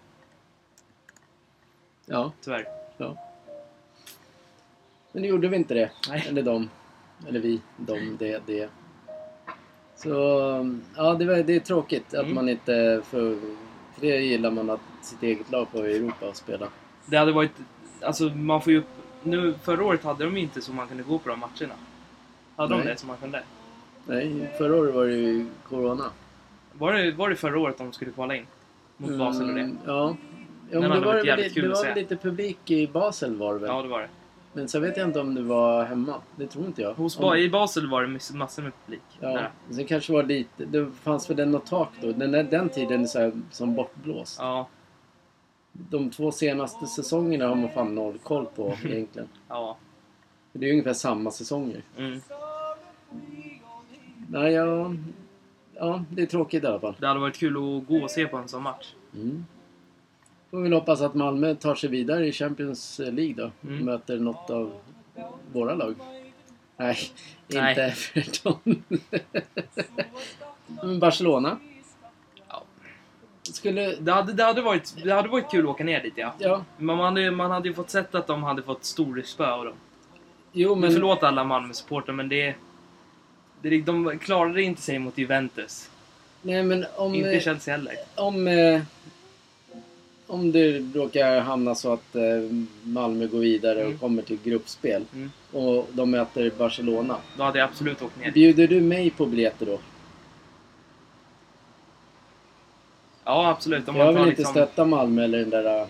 Speaker 4: Ja,
Speaker 3: tyvärr.
Speaker 4: ja. Men nu gjorde vi inte det.
Speaker 3: Nej.
Speaker 4: Eller de. Eller vi. De, det, det. Så, ja det, var, det är tråkigt att
Speaker 3: Mm.
Speaker 4: man inte... För, för det gillar man att sitt eget lag får i Europa och spela.
Speaker 3: Det hade varit... Alltså, man får ju... Nu, förra året hade de ju inte så man kunde gå på de matcherna. Hade de
Speaker 4: Nej.
Speaker 3: det så man kunde?
Speaker 4: Nej, förra året var det ju Corona.
Speaker 3: Var det, var det förra året de skulle kvala in? Mot Basel och det?
Speaker 4: Mm, Ja. Ja, men
Speaker 3: Den
Speaker 4: det
Speaker 3: hade
Speaker 4: var,
Speaker 3: varit
Speaker 4: väl
Speaker 3: jävligt
Speaker 4: li-
Speaker 3: kul
Speaker 4: det
Speaker 3: att
Speaker 4: var
Speaker 3: se.
Speaker 4: väl lite publik i Basel var det väl?
Speaker 3: Ja, det var det.
Speaker 4: Men sen vet jag inte om det var hemma. Det tror inte jag.
Speaker 3: Hos
Speaker 4: Om-
Speaker 3: ba, I Basel var det mass- massor med publik.
Speaker 4: Ja,
Speaker 3: Där.
Speaker 4: sen kanske var lite... Det fanns väl ändå tak då. Den, där- den tiden är så här, som bortblåst.
Speaker 3: ja,
Speaker 4: De två senaste säsongerna har man fan noll koll
Speaker 3: [laughs]
Speaker 4: på egentligen.
Speaker 3: ja.
Speaker 4: Det är ju ungefär samma säsonger.
Speaker 3: Mm.
Speaker 4: Nej, ja... Ja, det är tråkigt i alla fall.
Speaker 3: Det hade varit kul att gå och se på en sån match.
Speaker 4: Mm. Får vi väl hoppas att Malmö tar sig vidare i Champions League då.
Speaker 3: Mm.
Speaker 4: Möter något av våra lag. Nej,
Speaker 3: Nej.
Speaker 4: inte Everton. [laughs] Men Barcelona.
Speaker 3: Ja.
Speaker 4: Skulle...
Speaker 3: Det hade, det, hade varit, det hade varit kul att åka ner dit, ja.
Speaker 4: Ja,
Speaker 3: Men man hade, ju- man hade ju fått sett att de hade fått storspö av dem.
Speaker 4: jo
Speaker 3: Men...
Speaker 4: men...
Speaker 3: Förlåt alla Malmö-supportrar, men det, det... De klarade inte sig mot Juventus.
Speaker 4: Nej men om...
Speaker 3: Inte
Speaker 4: eh,
Speaker 3: Chelsea heller.
Speaker 4: Om, eh, om du råkar hamna så att eh, Malmö går vidare
Speaker 3: Mm.
Speaker 4: och kommer till gruppspel
Speaker 3: Mm.
Speaker 4: och de möter Barcelona.
Speaker 3: Då hade jag absolut åkt ner.
Speaker 4: Bjuder du mig på biljetter då?
Speaker 3: Ja, absolut. Om
Speaker 4: jag
Speaker 3: man tar
Speaker 4: vill inte
Speaker 3: liksom...
Speaker 4: stötta Malmö eller den där eh,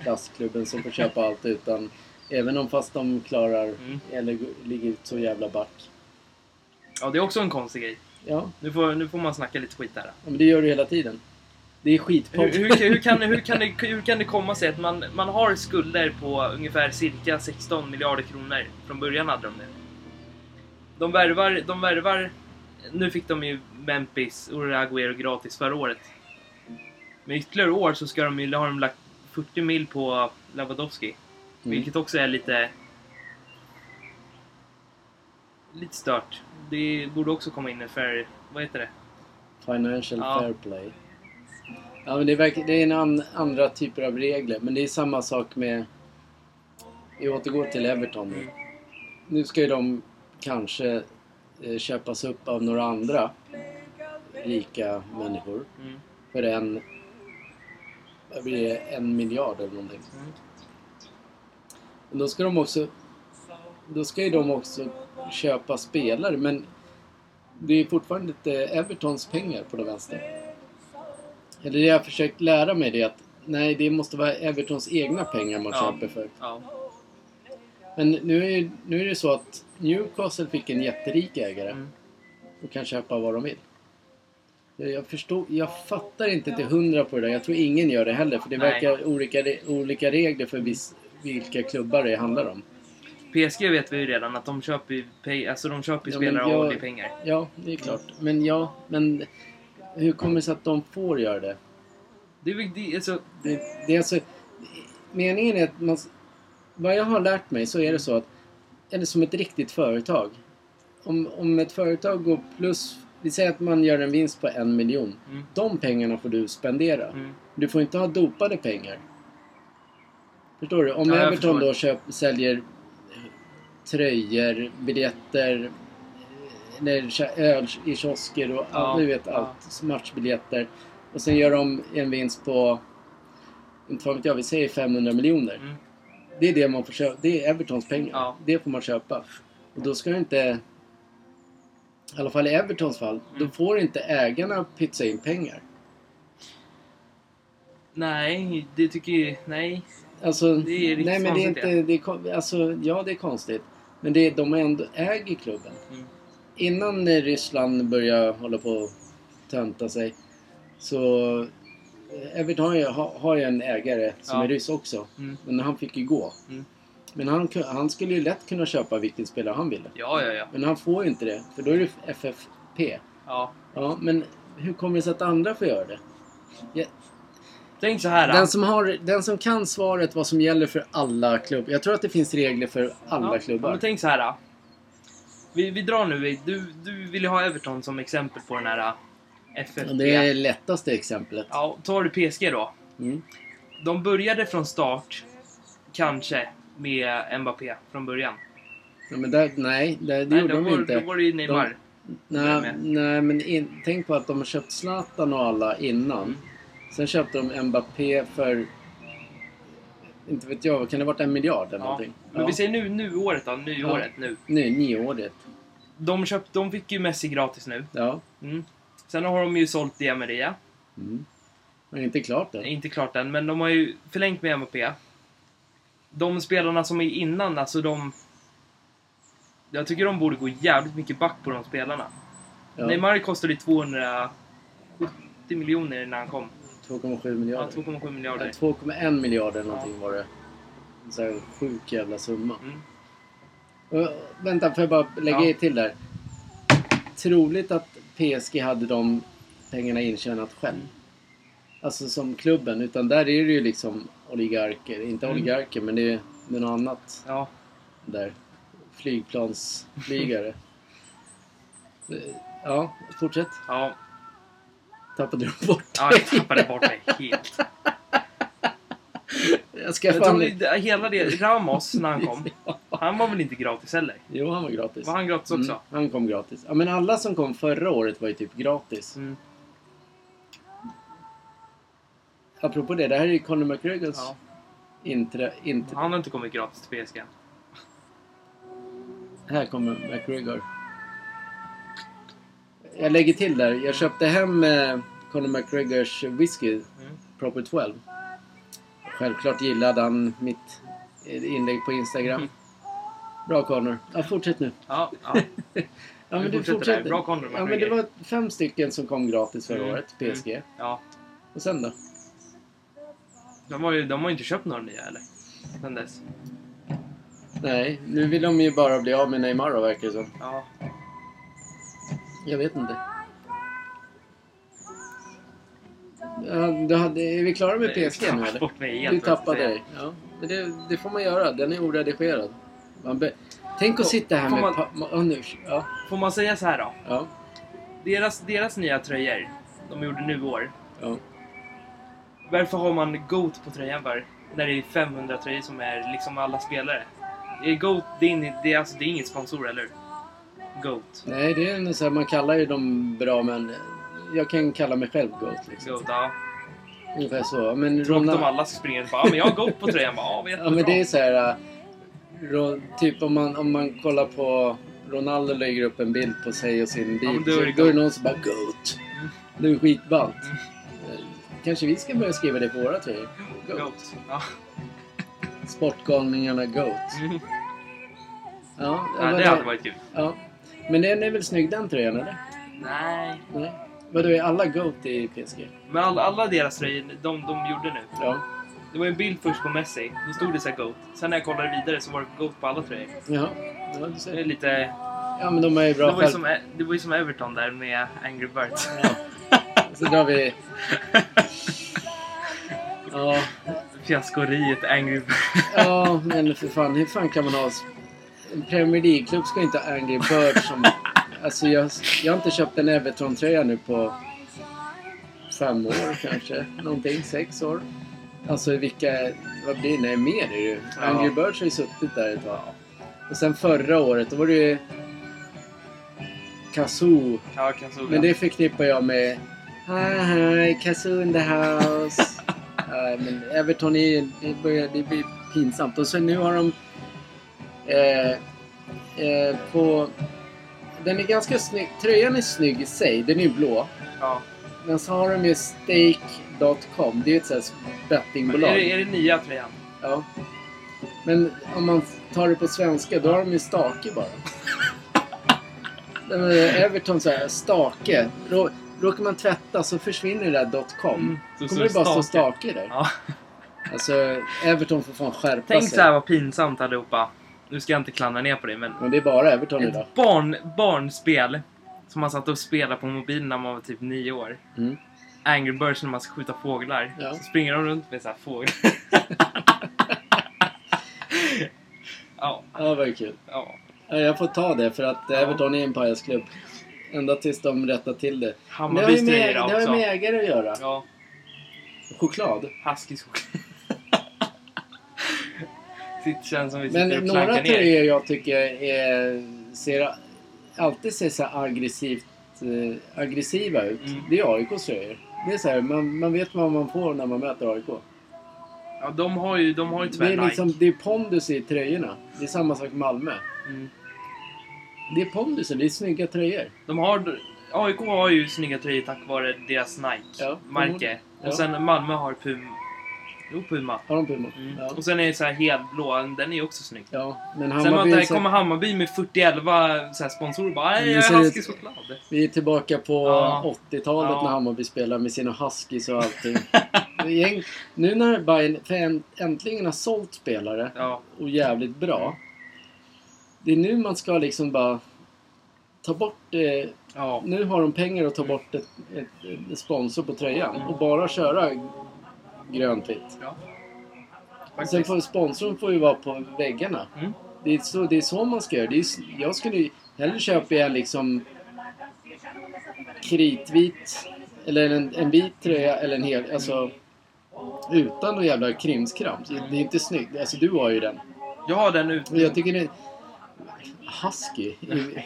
Speaker 4: plastklubben som får köpa allt utan även om fast de klarar
Speaker 3: Mm.
Speaker 4: eller g- ligger ut så jävla back.
Speaker 3: Ja, det är också en konstig grej.
Speaker 4: Ja,
Speaker 3: Nu får, nu får man snacka lite skit här.
Speaker 4: men det gör du hela tiden. Det är skitpodd.
Speaker 3: Hur, hur, hur, kan, hur, kan det, hur kan det komma sig att man, man har skulder på ungefär cirka 16 miljarder kronor? Från början hade de det. De värvar... De värvar nu fick de ju Memphis och Aguero gratis förra året. Men ytterligare år så ska de, ju- har de lagt 40 mil på Lewandowski. Vilket också är lite... Lite stört. Det borde också komma in en fair... Vad heter det?
Speaker 4: Financial
Speaker 3: Ja.
Speaker 4: fair play. Ja, men det, verkar, det är en an, andra typer av regler, men det är samma sak med... Vi återgår till Everton nu. Nu ska ju de kanske eh, köpas upp av några andra rika människor
Speaker 3: Mm.
Speaker 4: för en... Vad blir det? En miljard eller någonting.
Speaker 3: Mm.
Speaker 4: Men då ska de också... Då ska ju de också köpa spelare, men det är fortfarande inte Evertons pengar på det vänster. Eller det jag har försökt lära mig det är att nej, det måste vara Evertons egna pengar man
Speaker 3: Ja.
Speaker 4: köper för.
Speaker 3: Ja.
Speaker 4: Men nu är, nu är det så att Newcastle fick en jätterik ägare
Speaker 3: Mm.
Speaker 4: och kan köpa vad de vill. Jag- Jag, förstår, jag fattar inte till hundra på det där. Jag tror ingen gör det heller för det
Speaker 3: Nej.
Speaker 4: verkar olika, re- olika regler för viss, vilka klubbar det handlar om.
Speaker 3: PSG vet vi ju redan att de köper ju pay, alltså de köper ju
Speaker 4: Ja, men
Speaker 3: spelare
Speaker 4: jag-
Speaker 3: av det pengar.
Speaker 4: Ja, det är klart. Men ja, men hur kommer det sig att de får göra det?
Speaker 3: Det är väl det, alltså,
Speaker 4: Det, det är alltså, meningen är att man... Vad jag har lärt mig så är det så att... Eller som ett riktigt företag. Om, om ett företag går plus... Vi säger att man gör en vinst på en miljon.
Speaker 3: Mm.
Speaker 4: De pengarna får du spendera.
Speaker 3: mm,
Speaker 4: Du får inte ha dopade pengar. Förstår du? Om
Speaker 3: Ja, jag
Speaker 4: Everton
Speaker 3: förstår.
Speaker 4: då köp, säljer eh, tröjor, biljetter, eller kö- öl i kiosker och
Speaker 3: Ja,
Speaker 4: all, du vet
Speaker 3: ja.
Speaker 4: allt. Matchbiljetter. Och sen gör de en vinst på, inte fan vet jag, vi säger 500 miljoner.
Speaker 3: mm.
Speaker 4: Det är det man får köpa. Det är Evertons pengar.
Speaker 3: Ja.
Speaker 4: Det får man köpa. Och då ska inte... I alla fall i Evertons fall. Då
Speaker 3: Mm.
Speaker 4: får inte ägarna pytsa in pengar.
Speaker 3: Nej, det tycker ju... Nej.
Speaker 4: Alltså,
Speaker 3: Det är riktigt
Speaker 4: nej men det är
Speaker 3: konstigt,
Speaker 4: inte, det är, kon- alltså, ja det är konstigt. Men det är, de har ändå äger klubben.
Speaker 3: Mm.
Speaker 4: Innan eh, Ryssland börjar hålla på och tönta sig så eh, Everton har ju, har, har ju en ägare som
Speaker 3: Ja.
Speaker 4: är ryss också.
Speaker 3: Mm.
Speaker 4: Men han fick ju gå.
Speaker 3: Mm.
Speaker 4: Men han, ku- han skulle ju lätt kunna köpa vilken spelare han ville.
Speaker 3: Ja, ja, ja.
Speaker 4: Men han får ju inte det, för då är det FFP.
Speaker 3: ja.
Speaker 4: Ja, men hur kommer det sig att andra får göra det? Ja,
Speaker 3: Tänk så här.
Speaker 4: Den som, har, den som kan svaret vad som gäller för alla klubbar. Jag tror att det finns regler för alla
Speaker 3: ja, ja,
Speaker 4: klubbar.
Speaker 3: Men tänk så här. ah. Vi, vi drar nu. i- Du, du vill ju ha Everton som exempel på den här äh, FFP.
Speaker 4: Och det är lättaste exemplet.
Speaker 3: Ja, tar du PSG då.
Speaker 4: Mm.
Speaker 3: De började från start, kanske, med Mbappé från början.
Speaker 4: Ja, men där, nej, där, det
Speaker 3: Nej,
Speaker 4: gjorde
Speaker 3: då
Speaker 4: de
Speaker 3: var,
Speaker 4: inte.
Speaker 3: Då var det ju Neymar. jag
Speaker 4: nej,
Speaker 3: med.
Speaker 4: nej, men in, tänk på att de har köpt Zlatan och alla innan.
Speaker 3: Mm.
Speaker 4: Sen köpte de Mbappé för... Inte vet jag, kan det ha varit en miljard eller
Speaker 3: ja.
Speaker 4: någonting?
Speaker 3: Men vi säger nu, nu året då, nyåret nu.
Speaker 4: Nu, nioårigt.
Speaker 3: De, köpt, de fick ju Messi gratis nu.
Speaker 4: Ja.
Speaker 3: Mm. Sen har de ju sålt Di Maria.
Speaker 4: Mm. Men inte klart än.
Speaker 3: Inte klart än, men de har ju förlängt med Mbappé. De spelarna som är innan, alltså de... Jag tycker de borde gå jävligt mycket back på de spelarna.
Speaker 4: Ja,
Speaker 3: Neymar kostade ju 270 miljoner när han kom.
Speaker 4: 2,7
Speaker 3: Ja,
Speaker 4: miljarder.
Speaker 3: 2,7
Speaker 4: Ja,
Speaker 3: miljarder.
Speaker 4: 2,1 miljarder någonting var det. En sån här sjuk jävla summa.
Speaker 3: Mm.
Speaker 4: Och, vänta, får jag bara lägga
Speaker 3: Ja.
Speaker 4: till där? Troligt att PSG hade de pengarna intjänat själv. Alltså som klubben, utan där är det ju liksom oligarker. Inte
Speaker 3: Mm.
Speaker 4: oligarker, men det är, det är något annat
Speaker 3: Ja,
Speaker 4: där. Flygplansflygare.
Speaker 3: [laughs]
Speaker 4: Eh, ja, fortsätt.
Speaker 3: ja.
Speaker 4: Tappade du bort
Speaker 3: ja, jag tappade bort mig helt.
Speaker 4: [laughs] Jag ska
Speaker 3: [laughs] Jag
Speaker 4: fan...
Speaker 3: tror det, hela det, Ramos när han [laughs] kom, han var väl inte gratis heller?
Speaker 4: [laughs] Jo, han var gratis.
Speaker 3: Var han gratis också?
Speaker 4: Mm, han kom gratis. Ja, men alla som kom förra året var ju typ gratis.
Speaker 3: Mm.
Speaker 4: Apropå det, det här är ju Conor McGregors
Speaker 3: Ja.
Speaker 4: inträ... Int...
Speaker 3: Han har inte kommit gratis till PSG än.
Speaker 4: Här kommer McGregor. Jag lägger till där. Jag köpte hem eh, Conor McGregors whisky,
Speaker 3: Mm.
Speaker 4: Proper 12. Självklart gillade han mitt eh, inlägg på Instagram.
Speaker 3: Mm.
Speaker 4: Bra Conor. Ja, fortsätt nu.
Speaker 3: Ja, ja.
Speaker 4: Ja,
Speaker 3: Vi
Speaker 4: men du
Speaker 3: fortsätter där.
Speaker 4: fortsätter.
Speaker 3: Bra Conor
Speaker 4: Ja, men det
Speaker 3: McGregor.
Speaker 4: var fem stycken som kom gratis förra
Speaker 3: Mm.
Speaker 4: året, PSG.
Speaker 3: ja.
Speaker 4: Och sen då?
Speaker 3: De har ju de har ju inte köpt några nya eller? Sen dess.
Speaker 4: Nej, nu vill de ju bara bli av med Neymar då, verkar det som.
Speaker 3: Ja.
Speaker 4: Jag vet inte. Ja, du hade, är vi klara med PSG
Speaker 3: Jag
Speaker 4: nu
Speaker 3: tappade
Speaker 4: eller?
Speaker 3: bort mig helt,
Speaker 4: Du
Speaker 3: måste jag
Speaker 4: tappade
Speaker 3: säga.
Speaker 4: dig. Ja, men det, det får man göra. Den är oredigerad. Man be... Tänk att
Speaker 3: Får-
Speaker 4: sitta här
Speaker 3: får
Speaker 4: med...
Speaker 3: man-
Speaker 4: Pa... ma- Ja, nu. Ja,
Speaker 3: Får man säga så här då?
Speaker 4: ja,
Speaker 3: Deras, deras nya tröjor, de gjorde nu i år.
Speaker 4: ja.
Speaker 3: Varför har man GOAT på tröjan för? När det är 500 tröjor som är liksom alla spelare. Det är GOAT, det är, in- det är, alltså, det är inget sponsor, eller hur? GOAT.
Speaker 4: Nej, det är nog så här, man kallar ju dem bra men... Jag kan kalla mig själv GOAT liksom.
Speaker 3: GOAT, ja.
Speaker 4: Ungefär så. Men
Speaker 3: Tråkigt
Speaker 4: Ronald...
Speaker 3: om alla ska springa runt och bara, ja men jag har GOAT på tröjan. Bara, "Ah, ja, men
Speaker 4: Ja, men det är så här... äh, Ro... Typ om man, om man kollar på... Ronaldo lägger upp en bild på sig och sin bil.
Speaker 3: men
Speaker 4: då,
Speaker 3: då är det
Speaker 4: är det
Speaker 3: GOAT.
Speaker 4: någon som bara GOAT!
Speaker 3: Mm.
Speaker 4: Det är skitballt. Eh, Kanske vi ska börja skriva det på våra tröjor. GOAT.
Speaker 3: GOAT. Ja.
Speaker 4: Sportgalningarna GOAT.
Speaker 3: Mm.
Speaker 4: Ja,
Speaker 3: Nej,
Speaker 4: vadå?
Speaker 3: det hade varit kul.
Speaker 4: ja. Men den är väl snygg den tröjan eller?
Speaker 3: Nej.
Speaker 4: Nej. Vadå, är alla GOAT i PSG?
Speaker 3: Men all, alla deras tröjor, de, de gjorde nu.
Speaker 4: Ja.
Speaker 3: Det var en bild först på Messi. Då stod det så här GOAT. Sen när jag kollade vidare så var det GOAT på alla tröjor.
Speaker 4: Jaha. Ja, du
Speaker 3: Det är
Speaker 4: ser.
Speaker 3: lite...
Speaker 4: ja, men de är ju
Speaker 3: Det
Speaker 4: bra
Speaker 3: var ju
Speaker 4: själv...
Speaker 3: som, E- det var ju som Everton där med Angry Birds. [laughs]
Speaker 4: Så drar vi... Ja,
Speaker 3: Fiaskoriet Angry Birds.
Speaker 4: ja, men för fan, hur fan kan man ha... En Premier League-klubb ska inte ha Angry Birds som... Alltså jag, jag har inte köpt en Everton-tröja nu på fem år kanske. Någonting, sex år. Alltså vilka... Vad blir det? Nej, mer är det ju. Angry Birds har ju suttit där ett tag. Och sen förra året, då var det ju... Kazoo
Speaker 3: [laughs] Ja, Kazuga.
Speaker 4: Men det förknippar jag med Hi hi, Kazoo in the
Speaker 3: [laughs]
Speaker 4: house. Nej, men Everton är ju- det, börjar, det blir pinsamt. Och så nu har de eh, eh, på... Den är ganska snygg. Tröjan är snygg i sig. Den är ju blå.
Speaker 3: Ja.
Speaker 4: Men så har de ju Stake.com. Det är ju ett sånt här
Speaker 3: Men är, det,
Speaker 4: bettingbolag.
Speaker 3: är det nya tröjan?
Speaker 4: Ja. Men om man tar det på svenska, då har de ju stake bara. Nej, men Everton säger stake. Rå- Råkar man tvätta så försvinner det där .com.
Speaker 3: Mm, så
Speaker 4: kommer det
Speaker 3: står
Speaker 4: bara stå
Speaker 3: det stake.
Speaker 4: stake där.
Speaker 3: [laughs] Ja.
Speaker 4: Alltså, Everton får fan skärpa
Speaker 3: Tänk
Speaker 4: sig.
Speaker 3: så här vad pinsamt allihopa. Nu ska jag inte klandra ner på det, men
Speaker 4: Men det är bara Everton idag.
Speaker 3: ett barn, barnspel som man satt och spelade på mobilen när man var typ nio år.
Speaker 4: Mm.
Speaker 3: Angry Birds när man ska skjuta fåglar.
Speaker 4: Ja.
Speaker 3: Så springer de runt med så här [laughs] fåglar. ja,
Speaker 4: Ja, vad kul.
Speaker 3: ja.
Speaker 4: Ja, jag får ta det för att
Speaker 3: Ja.
Speaker 4: Everton är en pajasklubb. Ända tills de rättar till det. Men Det har ju
Speaker 3: Hammarbys
Speaker 4: med, det
Speaker 3: tröjor
Speaker 4: har ju
Speaker 3: också.
Speaker 4: med ägare att göra.
Speaker 3: Ja,
Speaker 4: Choklad.
Speaker 3: Huskys choklad. [laughs] Sitt- känns som vi sitter
Speaker 4: Men
Speaker 3: och
Speaker 4: några
Speaker 3: klankar ner.
Speaker 4: tröjor jag tycker är, ser, alltid ser så här aggressivt, eh, aggressiva ut.
Speaker 3: Mm.
Speaker 4: Det är AIKs tröjor. Det är så här, man, man vet vad man får när man möter AIK.
Speaker 3: Ja, de har ju, de har ju
Speaker 4: Det
Speaker 3: tyvärr
Speaker 4: är,
Speaker 3: Typ Nike.
Speaker 4: liksom, det är pondus i tröjorna. Det är samma sak med Malmö.
Speaker 3: Mm.
Speaker 4: Det är pondus, det är snygga tröjor.
Speaker 3: De har... AIK har ju snygga tröjor tack vare deras
Speaker 4: Ja,
Speaker 3: Nike-märke.
Speaker 4: Ja.
Speaker 3: Och sen Malmö har Puma. Jo, Puma.
Speaker 4: Har de Puma?
Speaker 3: Mm.
Speaker 4: Ja.
Speaker 3: Och sen är det så här helblå, den är ju också snygg.
Speaker 4: ja. Men
Speaker 3: sen var
Speaker 4: Hammarby...
Speaker 3: det,
Speaker 4: är så-
Speaker 3: kommer Hammarby med 40-11 så här sponsorer och bara
Speaker 4: Mm,
Speaker 3: "Nej,
Speaker 4: så
Speaker 3: jag
Speaker 4: är
Speaker 3: är
Speaker 4: det-
Speaker 3: Huskys choklad.
Speaker 4: Vi är tillbaka på
Speaker 3: Ja.
Speaker 4: 80-talet
Speaker 3: Ja.
Speaker 4: när Hammarby spelade med sina huskies och
Speaker 3: [laughs]
Speaker 4: allting. Gäng- nu när Bayern fan- äntligen har sålt spelare
Speaker 3: Ja,
Speaker 4: och jävligt bra. Det är nu man ska liksom bara ta bort... Eh,
Speaker 3: ja.
Speaker 4: nu har de pengar att ta bort ett, ett, ett sponsor på tröjan och bara köra grönvitt.
Speaker 3: ja.
Speaker 4: Sen
Speaker 3: Faktiskt.
Speaker 4: får sponsorn får ju vara på väggarna.
Speaker 3: Mm.
Speaker 4: Det är så, det är så man ska göra. Det är, s- jag skulle ju- hellre köpa en liksom kritvit eller en, en vit tröja eller en hel, alltså utan någon jävla krimskrams. Det är inte snyggt. Alltså du har ju den.
Speaker 3: Jag har den ute.
Speaker 4: Men jag tycker det Husky?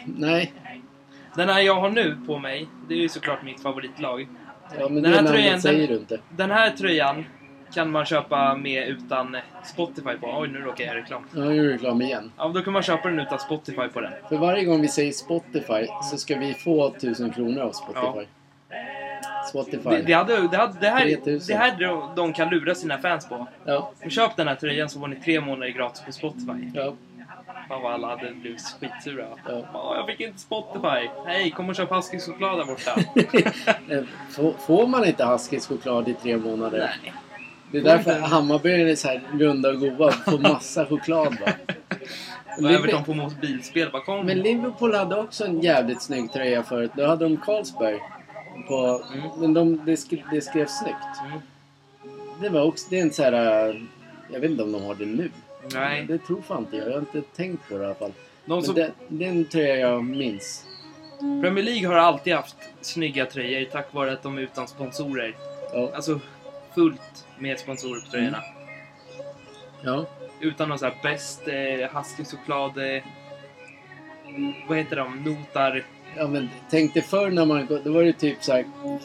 Speaker 4: Nej.
Speaker 3: Den här jag har nu på mig, det är ju såklart mitt favoritlag.
Speaker 4: Ja, men
Speaker 3: Den
Speaker 4: det
Speaker 3: här
Speaker 4: namnet
Speaker 3: tröjan, den-
Speaker 4: säger du inte.
Speaker 3: Den här tröjan kan man köpa med utan Spotify på. Oj, nu råkar jag göra reklam.
Speaker 4: Ja, nu är det reklam igen.
Speaker 3: Ja, då kan man köpa den utan Spotify på den.
Speaker 4: För varje gång vi säger Spotify så ska vi få 1000 kronor av Spotify. Spotify.
Speaker 3: Det, det, hade, det, hade, det, här,
Speaker 4: 3000.
Speaker 3: det här de- de kan lura sina fans på.
Speaker 4: Ja,
Speaker 3: Köp den här tröjan så får ni tre månader gratis på Spotify.
Speaker 4: ja.
Speaker 3: Fan vad alla hade blivit skitsura.
Speaker 4: Ja.
Speaker 3: Ja, jag fick inte Spotify. Hej, kom och köp Huskys choklad
Speaker 4: [laughs]
Speaker 3: där borta.
Speaker 4: Eh, Får, får man inte Huskys choklad i tre månader?
Speaker 3: Nej.
Speaker 4: Det är därför Hammarby är så här runda och goa. Får massa choklad
Speaker 3: [laughs]
Speaker 4: va?
Speaker 3: Och Everton på mot bilspel. Bara kom.
Speaker 4: Men Liverpool hade också en jävligt snygg tröja förut. Då hade de Carlsberg. På,
Speaker 3: Mm.
Speaker 4: Men de, det, skrev, det skrevs snyggt.
Speaker 3: Mm.
Speaker 4: Det var också... Det är en så här... eh, Jag vet inte om de har det nu.
Speaker 3: Nej.
Speaker 4: Det tror fan inte jag. Jag har inte tänkt på det i alla fall.
Speaker 3: De
Speaker 4: Men
Speaker 3: som,
Speaker 4: det, det är en tröja jag minns.
Speaker 3: Premier League har alltid haft snygga tröjor tack vare att de är utan sponsorer.
Speaker 4: Ja.
Speaker 3: Alltså fullt med sponsorer på tröjorna.
Speaker 4: ja.
Speaker 3: Utan någon sån här bäst, eh, Huskys choklad... Eh, vad heter de? Notar.
Speaker 4: Ja men tänk dig förr när man då var det typ så här.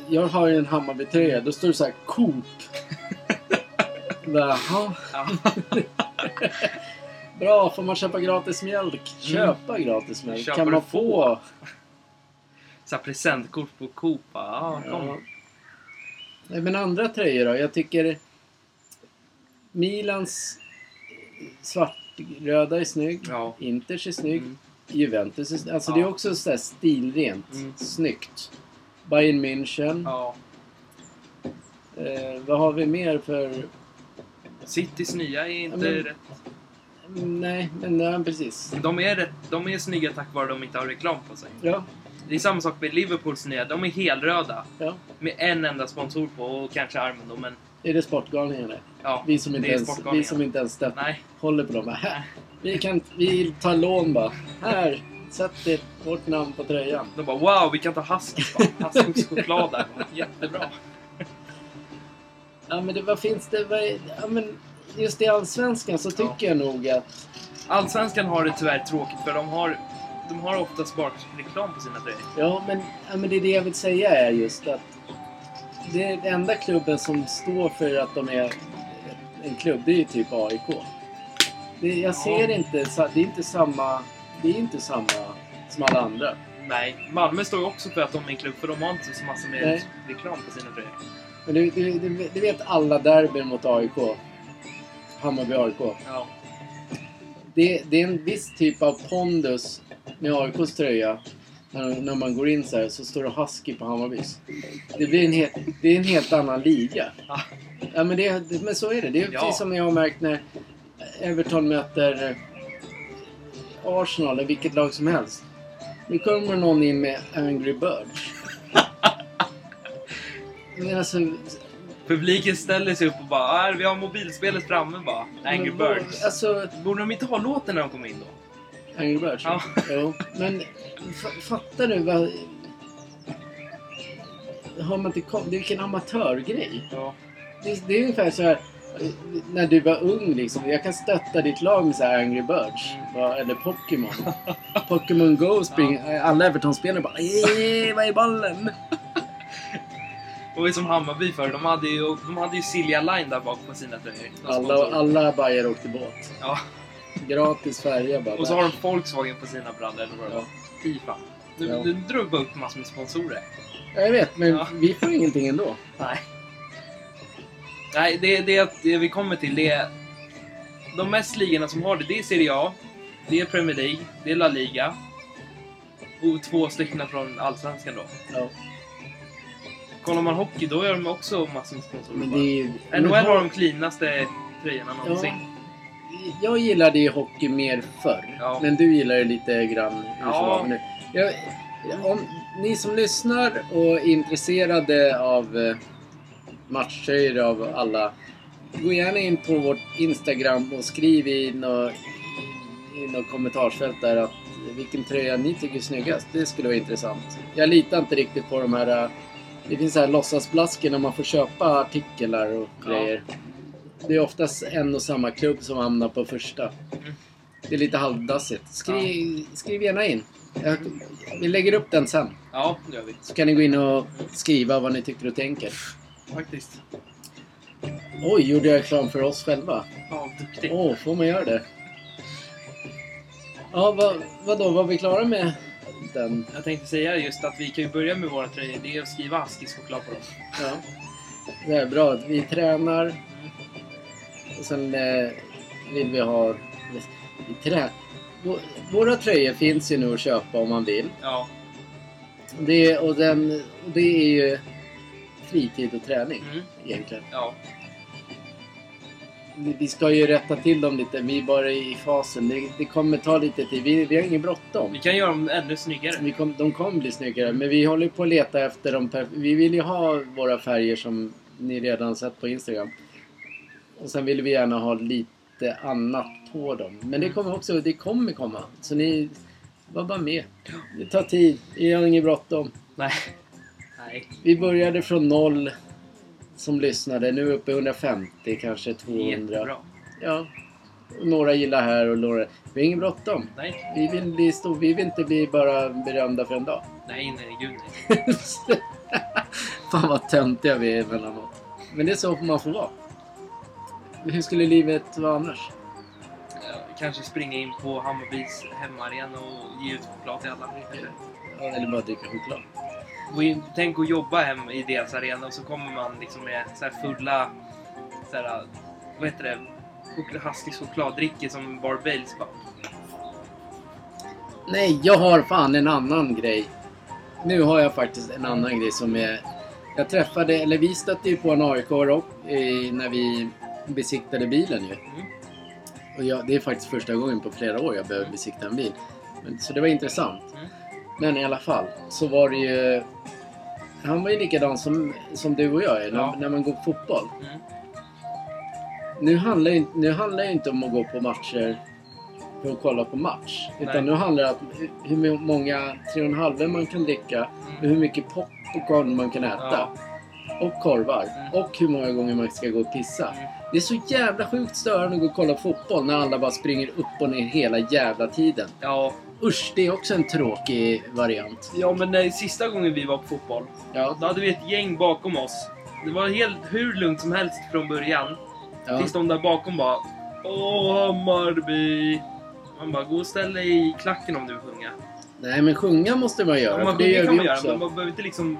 Speaker 4: Jag har ju en Hammarbytröja, då står det så här Coop. [laughs] Jaha,
Speaker 3: Ja.
Speaker 4: bra får man köpa gratis
Speaker 3: Mm.
Speaker 4: mjölk? Köpa gratis mjölk?
Speaker 3: Köpa
Speaker 4: kan
Speaker 3: det
Speaker 4: man
Speaker 3: få?
Speaker 4: få?
Speaker 3: så här presentkort på Coop. Ja, kom.
Speaker 4: Ja. Nej men andra tröjor då? Jag tycker Milans svartröda är snygg.
Speaker 3: Ja.
Speaker 4: Inters är snygg.
Speaker 3: Mm.
Speaker 4: Juventus är snygg. Alltså
Speaker 3: Ja.
Speaker 4: det är också så här stilrent.
Speaker 3: Mm.
Speaker 4: Snyggt. Bayern München.
Speaker 3: ja.
Speaker 4: Eh, vad har vi mer för...
Speaker 3: Citys nya är inte
Speaker 4: Ja, men-
Speaker 3: rätt.
Speaker 4: Nej, men nej, precis.
Speaker 3: De är, rätt, de är snygga tack vare att de inte har reklam på sig.
Speaker 4: Ja,
Speaker 3: Det är samma sak med Liverpools nya. De är helröda.
Speaker 4: ja.
Speaker 3: Med en enda sponsor på och kanske armen då, men...
Speaker 4: Är det Sportgalningarna?
Speaker 3: Ja,
Speaker 4: Vi som inte
Speaker 3: det är
Speaker 4: ens,
Speaker 3: sportgalningar.
Speaker 4: vi som inte ens stött,
Speaker 3: Nej.
Speaker 4: håller på dem. Bara, här, vi, kan, vi tar lån bara. Här, sätt det, vårt namn på tröjan.
Speaker 3: De bara wow, vi kan ta Huskys [laughs] bara. Huskys choklad där. Jättebra.
Speaker 4: Ja, men det, vad finns det? Vad, är- ja, men just i Allsvenskan så tycker jag nog att...
Speaker 3: Allsvenskan har det tyvärr tråkigt för de har, de har oftast bara reklam på sina tröjor.
Speaker 4: Ja, men, ja, men det är det jag vill säga är just att det är den enda klubben som står för att de är en klubb, det är ju typ AIK. Det, jag
Speaker 3: Ja.
Speaker 4: ser inte, sa- det är inte samma, det är inte samma som alla andra.
Speaker 3: Nej, Malmö står ju också för att de är en klubb för de har inte så massor med
Speaker 4: Nej.
Speaker 3: reklam på sina tröjor.
Speaker 4: Men du, du, du, du vet alla derbyn mot AIK. Hammarby-AIK.
Speaker 3: Ja.
Speaker 4: Det, det är en viss typ av pondus med AIKs tröja. När, när man går in så här så står det Husky på Hammarbys. Det, blir en helt, det är en helt annan liga.
Speaker 3: Ja.
Speaker 4: Ja, men, det, det- men så är det. Det är
Speaker 3: Ja.
Speaker 4: precis som jag har märkt när Everton möter eh, Arsenal eller vilket lag som helst.
Speaker 3: [laughs]
Speaker 4: Nu kommer någon in med Angry Birds. Men alltså,
Speaker 3: Publiken ställer sig upp och bara "Ah, vi har mobilspelet framme bara. Angry
Speaker 4: men-
Speaker 3: Birds.
Speaker 4: Alltså,
Speaker 3: Borde de inte ha låten när de kom in då?
Speaker 4: Angry Birds?
Speaker 3: Ja.
Speaker 4: Jo. Men fa- fattar du vad... Har man inte kom... Det är vilken amatörgrej.
Speaker 3: Ja.
Speaker 4: Det, det är ungefär så här... När du var ung liksom. Jag kan stötta ditt lag med så här Angry Birds. Va, Eller
Speaker 3: [laughs]
Speaker 4: Pokémon. Pokémon Go spring. Alla Everton-spelare bara "Eh, vad är bollen?
Speaker 3: Det var ju som Hammarby förr. De hade ju, de hade ju Silja Line där bak på sina tröjor. De
Speaker 4: Alla,
Speaker 3: sponsorer.
Speaker 4: alla Bajer åkte båt.
Speaker 3: Ja.
Speaker 4: Gratis färja bara.
Speaker 3: Och så har de Volkswagen på sina brallor. eller vad det var.
Speaker 4: Ja.
Speaker 3: Fy fan. Nu,
Speaker 4: Ja.
Speaker 3: nu drar du bara upp massor med sponsorer.
Speaker 4: Ja, Jag vet, men
Speaker 3: Ja.
Speaker 4: vi får ingenting ändå.
Speaker 3: Nej. Nej, det, det, det vi kommer till det är... De mest ligorna som har det, det är Serie A, det är Premier League, det är La Liga. Och två stycken från Allsvenskan då.
Speaker 4: Ja.
Speaker 3: Kollar man hockey, då gör de också massor med sponsorer.
Speaker 4: Men det är ju...
Speaker 3: bara. NHL har de cleanaste tröjorna någonsin.
Speaker 4: Jag gillade ju hockey mer förr.
Speaker 3: Ja.
Speaker 4: Men du gillar ju lite grann hur
Speaker 3: Ja.
Speaker 4: som var nu. Jag, om, ni som lyssnar och är intresserade av eh, matcher av alla. Gå gärna in på vårt Instagram och skriv i något i något kommentarsfält där att vilken tröja ni tycker är snyggast. Det skulle vara intressant. Jag litar inte riktigt på de här... eh, Det finns så här låtsasblaskor när man får köpa artiklar och
Speaker 3: Ja.
Speaker 4: grejer. Det är oftast en och samma klubb som hamnar på första. Det är lite halvdassigt. Skriv, skriv gärna in. Jag, vi lägger upp den sen.
Speaker 3: Ja, det gör vi.
Speaker 4: Så kan ni gå in och skriva vad ni tycker och tänker.
Speaker 3: Faktiskt.
Speaker 4: Oj, gjorde jag reklam för oss själva?
Speaker 3: Ja, duktig.
Speaker 4: Åh, får man göra det? Ja, vad, vadå? Var vi klara med den?
Speaker 3: Jag tänkte säga just att vi kan ju börja med våra tröjor. Det är att skriva askisk choklad på dem.
Speaker 4: Ja. Det är bra. Vi tränar. Och sen eh, vill vi ha... Vi trä... Vå- Våra tröjor finns ju nu att köpa om man vill.
Speaker 3: Ja.
Speaker 4: Det, och, den, och det är ju fritid och träning
Speaker 3: Mm.
Speaker 4: egentligen.
Speaker 3: Ja.
Speaker 4: Vi vi ska ju rätta till dem lite. Vi är bara i fasen. Det, det kommer ta lite tid. Vi, vi har inget bråttom.
Speaker 3: Vi kan göra dem ännu snyggare.
Speaker 4: Vi kom, de kommer bli snyggare. Men vi håller på att leta efter dem. Per, vi vill ju ha våra färger som ni redan sett på Instagram. Och sen vill vi gärna ha lite annat på dem. Men det kommer också, det kommer komma. Så ni, var bara med. Det tar tid. Vi har inget bråttom.
Speaker 3: Nej. Nej.
Speaker 4: Vi började från noll som lyssnade. Nu är vi uppe i 150, kanske 200.
Speaker 3: Jättebra.
Speaker 4: Ja. Och Några gillar här och några... Vi har ingen bråttom.
Speaker 3: Nej.
Speaker 4: Vi vill, bli stor... vi vill inte bli bara berömda för en dag. [laughs]
Speaker 3: Nej, nej, gud nej.
Speaker 4: Fan vad töntiga vi är emellanåt. Men det är så man får vara. Hur skulle livet vara annars?
Speaker 3: Eh, Kanske springa in på Hammarbys hemmaarena och ge ut choklad till alla. Kanske.
Speaker 4: Ja, Eller bara dricka choklad.
Speaker 3: Gå in- Tänk att jobba hem i deras arena och så kommer man liksom med så här fulla, så här, vad heter det, Chokla- Huskys chokladdrickor som Bar Baileys bara.
Speaker 4: Nej, jag har fan en annan grej. Nu har jag faktiskt en annan grej som är... Jag träffade, eller vi stötte ju på en aik eh, när vi besiktade bilen ju.
Speaker 3: Mm.
Speaker 4: Och jag, det är faktiskt första gången på flera år jag behöver besikta en bil. Men, så det var intressant.
Speaker 3: Mm.
Speaker 4: Men i alla fall, så var det ju... Han var ju likadan som, som du och jag är när,
Speaker 3: Ja.
Speaker 4: när man går på fotboll.
Speaker 3: Mm.
Speaker 4: Nu handlar, ju, nu handlar det inte om att gå på matcher för att kolla på match.
Speaker 3: Nej.
Speaker 4: Utan nu handlar det om hur- hur många 3,5 man kan dricka, och
Speaker 3: Mm.
Speaker 4: hur mycket popcorn man kan äta. Och korvar.
Speaker 3: Mm.
Speaker 4: Och hur många gånger man ska gå och pissa.
Speaker 3: Mm.
Speaker 4: Det är så jävla sjukt störande att gå och kolla fotboll när alla bara springer upp och ner hela jävla tiden.
Speaker 3: Ja.
Speaker 4: Usch, det är också en tråkig variant.
Speaker 3: ja, men nej, sista gången vi var på fotboll,
Speaker 4: Ja,
Speaker 3: då hade vi ett gäng bakom oss. Det var helt hur lugnt som helst från början.
Speaker 4: ja.
Speaker 3: Tills de där bakom bara Åh Hammarby! Man bara, gå och ställ dig i klacken om du vill sjunga.
Speaker 4: Nej, men sjunga måste man göra.
Speaker 3: Om man
Speaker 4: för det
Speaker 3: sjunger
Speaker 4: gör
Speaker 3: kan
Speaker 4: vi
Speaker 3: man göra,
Speaker 4: också.
Speaker 3: men man behöver inte liksom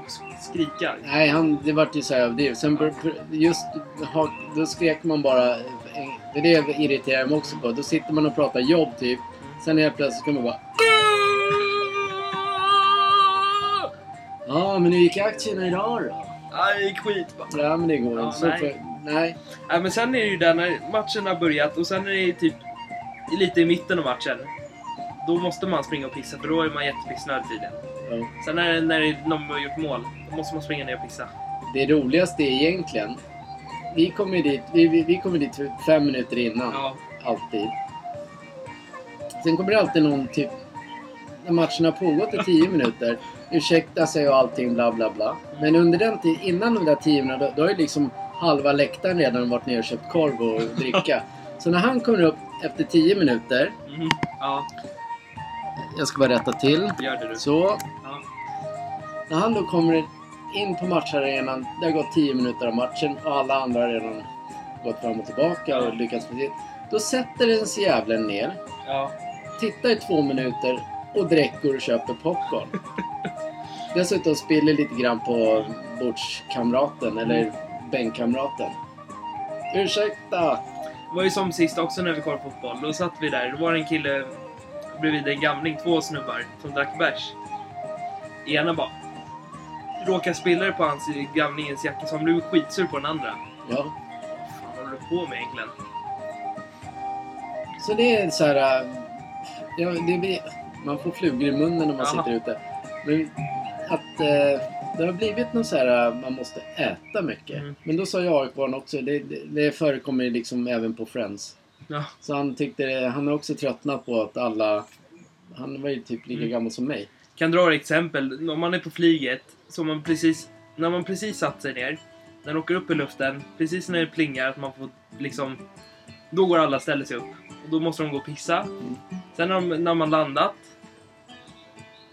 Speaker 3: skrika.
Speaker 4: Nej, han, det vart ju så här, det, sen bör- bör- just, ha, då skrek man bara, eh, det är det jag irriterar mig också på. Då sitter man och pratar jobb typ, sen helt plötsligt kommer man bara Ja, men hur gick aktierna idag då?
Speaker 3: Aj, skit bara.
Speaker 4: Ja, men det går
Speaker 3: Ja,
Speaker 4: inte. så
Speaker 3: nej.
Speaker 4: För, nej.
Speaker 3: Nej, men sen är det ju där när matchen har börjat och sen är det typ lite i mitten av matchen. Då måste man springa och pissa för då är man jättepissnödig tydligen.
Speaker 4: Ja.
Speaker 3: Sen när, när någon har gjort mål, då måste man springa ner och pissa.
Speaker 4: Det roligaste är egentligen, vi kommer ju dit, vi, vi, vi kommer dit fem minuter innan.
Speaker 3: Ja.
Speaker 4: Alltid. Sen kommer det alltid någon typ, när matchen har pågått i tio minuter, ursäkta sig och allting bla bla bla. Men under den tiden, innan de där tio minuterna, då, då har ju liksom halva läktaren redan varit nere och köpt korv och dricka. Så när han kommer upp efter tio minuter,
Speaker 3: Mhm. Ja,
Speaker 4: jag ska bara rätta till.
Speaker 3: gör det du.
Speaker 4: Så,
Speaker 3: Ja.
Speaker 4: när han då kommer in på matcharenan, det har gått 10 minuter av matchen och alla andra har redan gått fram och tillbaka och lyckats med sitt. Då sätter den sig jävlen ner,
Speaker 3: Ja.
Speaker 4: tittar i två minuter och dricker och köper popcorn. Dessutom spiller lite grann på bordskamraten eller bänkkamraten. Ursäkta!
Speaker 3: Det var ju som sist också när vi kollade på fotboll. Då satt vi där. Då var det en kille bredvid en gamling, två snubbar, som drack bärs. Ena bara råkade spilla det på hans gamlingens jacka så han blev skitsur på den andra.
Speaker 4: Ja.
Speaker 3: Vad fan håller du på med egentligen?
Speaker 4: Så det är så här... äh, Ja, det blir, man får flugor i munnen när man
Speaker 3: Jaha.
Speaker 4: sitter ute. Men att äh, det har blivit något så här äh, man måste äta mycket.
Speaker 3: Mm.
Speaker 4: Men då sa jag aik också, det, det, det förekommer ju liksom även på Friends.
Speaker 3: Ja.
Speaker 4: Så han tyckte, det- han har också tröttnat på att alla, han var ju typ lika
Speaker 3: Mm.
Speaker 4: gammal som mig.
Speaker 3: Kan dra ett exempel. Om man är på flyget, så man precis, när man precis satt sig ner, den åker upp i luften, precis när det plingar att man får liksom... Då går alla och ställer sig upp. Och då måste de gå och pissa. Sen när, de, när man landat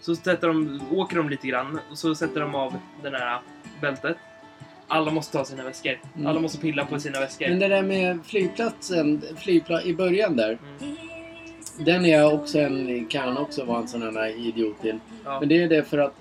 Speaker 3: så sätter de, åker de lite grann och så sätter de av det där bältet. Alla måste ta sina väskor.
Speaker 4: Mm.
Speaker 3: Alla måste pilla på sina väskor.
Speaker 4: Men det där med flygplatsen, flygpla i början där.
Speaker 3: Mm.
Speaker 4: Den är jag också en, kan också vara en sån här idiot till.
Speaker 3: Ja.
Speaker 4: Men det är det för att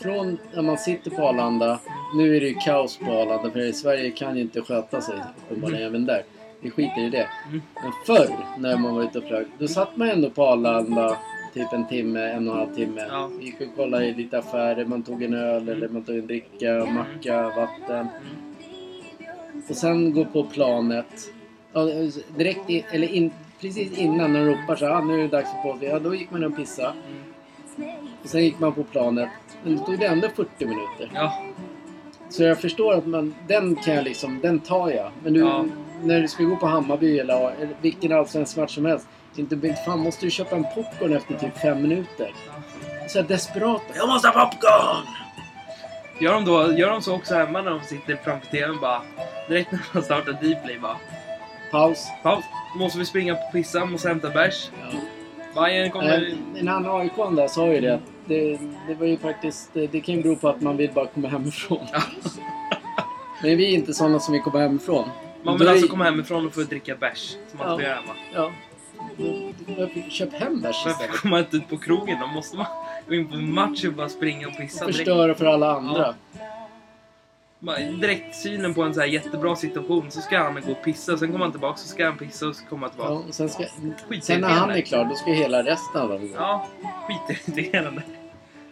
Speaker 4: Från när man sitter på Arlanda, nu är det ju kaos på Arlanda för Sverige kan ju inte sköta sig uppenbarligen även där. Vi skiter i det.
Speaker 3: Mm.
Speaker 4: Men förr när man var ute och flög, då satt man ändå på Arlanda typ en timme, en och en halv timme.
Speaker 3: Ja.
Speaker 4: Vi gick och kollade i lite affärer, man tog en öl eller man tog en dricka, macka, vatten.
Speaker 3: Mm.
Speaker 4: Och sen gå på planet. Ja, direkt in, eller in, precis innan de ropar så här, ah, nu är det dags för påsk. Ja, då gick man och pissade.
Speaker 3: Mm.
Speaker 4: Och sen gick man på planet. Men det tog det ändå 40 minuter.
Speaker 3: Ja.
Speaker 4: Så jag förstår att man, den kan jag liksom, den tar jag. Men du,
Speaker 3: Ja.
Speaker 4: när du ska gå på Hammarby eller, eller vilken allsvensk match som helst. Inte, inte fan måste du köpa en popcorn efter typ fem minuter.
Speaker 3: ja.
Speaker 4: Så här desperat. Jag måste ha popcorn!
Speaker 3: Gör de, då, gör de så också hemma när de sitter framför TVn bara direkt när de startar Dplay bara
Speaker 4: Paus.
Speaker 3: Paus. Måste vi springa på pissa, måste hämta bärs.
Speaker 4: Ja.
Speaker 3: Bajen kommer...
Speaker 4: Eh, En annan aik där sa ju det att det, det var ju faktiskt, det, det kan ju bero på att man vill bara komma hemifrån. [laughs] Men vi är inte sådana som vill komma hemifrån.
Speaker 3: Man
Speaker 4: Då
Speaker 3: vill
Speaker 4: är-
Speaker 3: alltså komma hemifrån och få dricka bärs. Som man
Speaker 4: Ja.
Speaker 3: inte får göra hemma.
Speaker 4: Ja. Köp hem bärs
Speaker 3: Varför
Speaker 4: istället.
Speaker 3: kommer man inte ut på krogen? Då måste man gå in på en match och bara springa och pissa direkt.
Speaker 4: Förstöra för alla andra.
Speaker 3: Man- Direkt synen på en så här jättebra situation så ska han gå och pissa. Sen kommer han tillbaka så ska han pissa och så kommer han
Speaker 4: Ja,
Speaker 3: tillbaka.
Speaker 4: och sen, ska,
Speaker 3: Skit
Speaker 4: sen när
Speaker 3: i
Speaker 4: han
Speaker 3: det.
Speaker 4: är klar, då ska ju hela resten av dem gå.
Speaker 3: Ja, skitirriterande.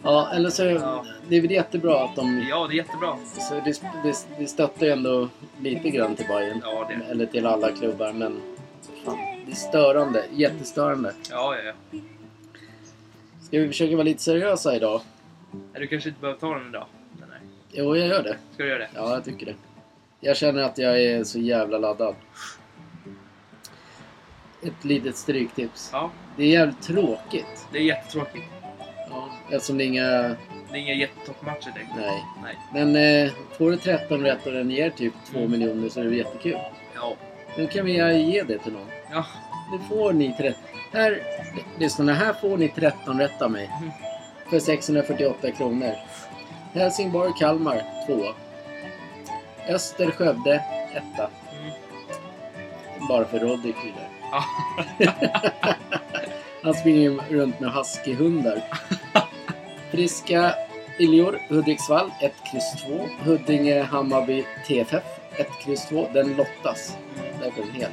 Speaker 4: Ja, eller så...
Speaker 3: Ja.
Speaker 4: Det är väl jättebra att de...
Speaker 3: Ja, det är jättebra.
Speaker 4: Så det, det, det stöttar ju ändå lite grann till Bayern
Speaker 3: Ja, det är det.
Speaker 4: Eller till alla klubbar, men... Fan, det är störande. Jättestörande.
Speaker 3: Ja, ja, ja.
Speaker 4: Ska vi försöka vara lite seriösa idag?
Speaker 3: Nej, Du kanske inte behöver ta den idag. Men nej.
Speaker 4: Jo, jag gör det.
Speaker 3: Ska du göra det?
Speaker 4: Ja, jag tycker det. Jag känner att jag är så jävla laddad. Ett litet stryktips.
Speaker 3: Ja,
Speaker 4: Det är jävligt tråkigt.
Speaker 3: det är jättetråkigt.
Speaker 4: Ja. Eftersom det är inga...
Speaker 3: Det är inga jättetoppmatcher direkt.
Speaker 4: Nej.
Speaker 3: Nej.
Speaker 4: Men eh, får du 13 rätt och den ger typ 2 miljoner så är det jättekul.
Speaker 3: Ja.
Speaker 4: Nu kan vi eh, ge det till någon.
Speaker 3: Ja.
Speaker 4: Nu får ni 13... Här, lyssnarna, här får ni 13 rätt av mig.
Speaker 3: Mm.
Speaker 4: För 648 kronor. Helsingborg, Kalmar 2. Öster, Skövde 1.
Speaker 3: Mm.
Speaker 4: Bara för Roddy kryddar.
Speaker 3: Ja.
Speaker 4: [laughs] Han springer ju runt med huskyhundar. Friska Iljor, Hudiksvall 1, X 2. Huddinge, Hammarby, TFF 1, X 2. Den lottas.
Speaker 3: Mm.
Speaker 4: Där går den hel.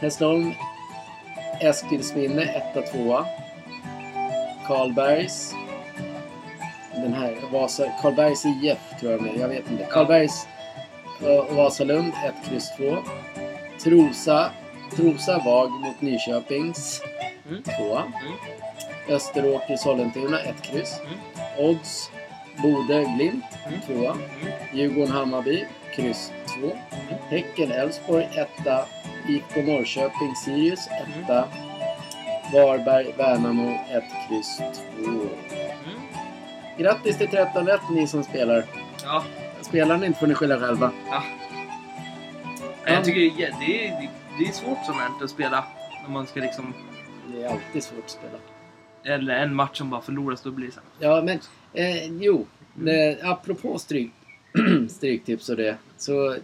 Speaker 4: Hässleholm, Eskilsminne 1, 2. Karlbergs. Den här, Vasa, Karlbergs IF tror jag med. Jag vet inte. Karlbergs eh, och Vasalund 1, X 2. Trosa, Trosa Vag mot Nyköpings
Speaker 3: Mm.
Speaker 4: 2.
Speaker 3: Mm.
Speaker 4: Österåker Sollentuna 1, kryss.
Speaker 3: Mm.
Speaker 4: Odds Bode, Glimt,
Speaker 3: Mm.
Speaker 4: tvåa.
Speaker 3: Mm.
Speaker 4: Djurgården, Hammarby, kryss 2. Häcken, Elfsborg, etta. IK Norrköping, Sirius, etta. Varberg, Värnamo, ett kryss 2.
Speaker 3: Mm.
Speaker 4: Grattis till 13 rätt ni som spelar.
Speaker 3: Ja.
Speaker 4: Spelar ni inte får ni skylla själva.
Speaker 3: ja. Nej, Jag tycker det är, det är, det är svårt som här att spela. När man ska liksom...
Speaker 4: Det är alltid svårt att spela.
Speaker 3: Eller en match som bara förloras, då blir det så här.
Speaker 4: Ja, men eh, jo. Eh, apropå stryk, [clears throat] stryktips och det. Så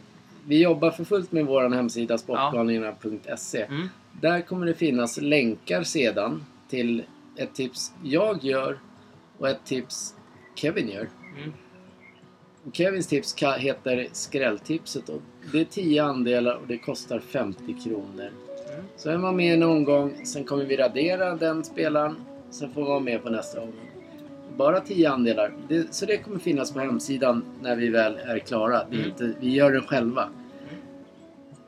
Speaker 4: vi jobbar för fullt med vår hemsida sportgalningarna.se.
Speaker 3: Mm.
Speaker 4: Där kommer det finnas länkar sedan till ett tips jag gör och ett tips Kevin gör.
Speaker 3: Mm.
Speaker 4: Och Kevins tips ka- heter Skrälltipset. Och det är 10 andelar och det kostar 50 kronor.
Speaker 3: Mm.
Speaker 4: Så är man med en omgång, sen kommer vi radera den spelaren. Sen får man vara med på nästa omgång. Bara 10 andelar. Det, så det kommer finnas på hemsidan när vi väl är klara. Det är
Speaker 3: Mm.
Speaker 4: inte, vi gör den själva.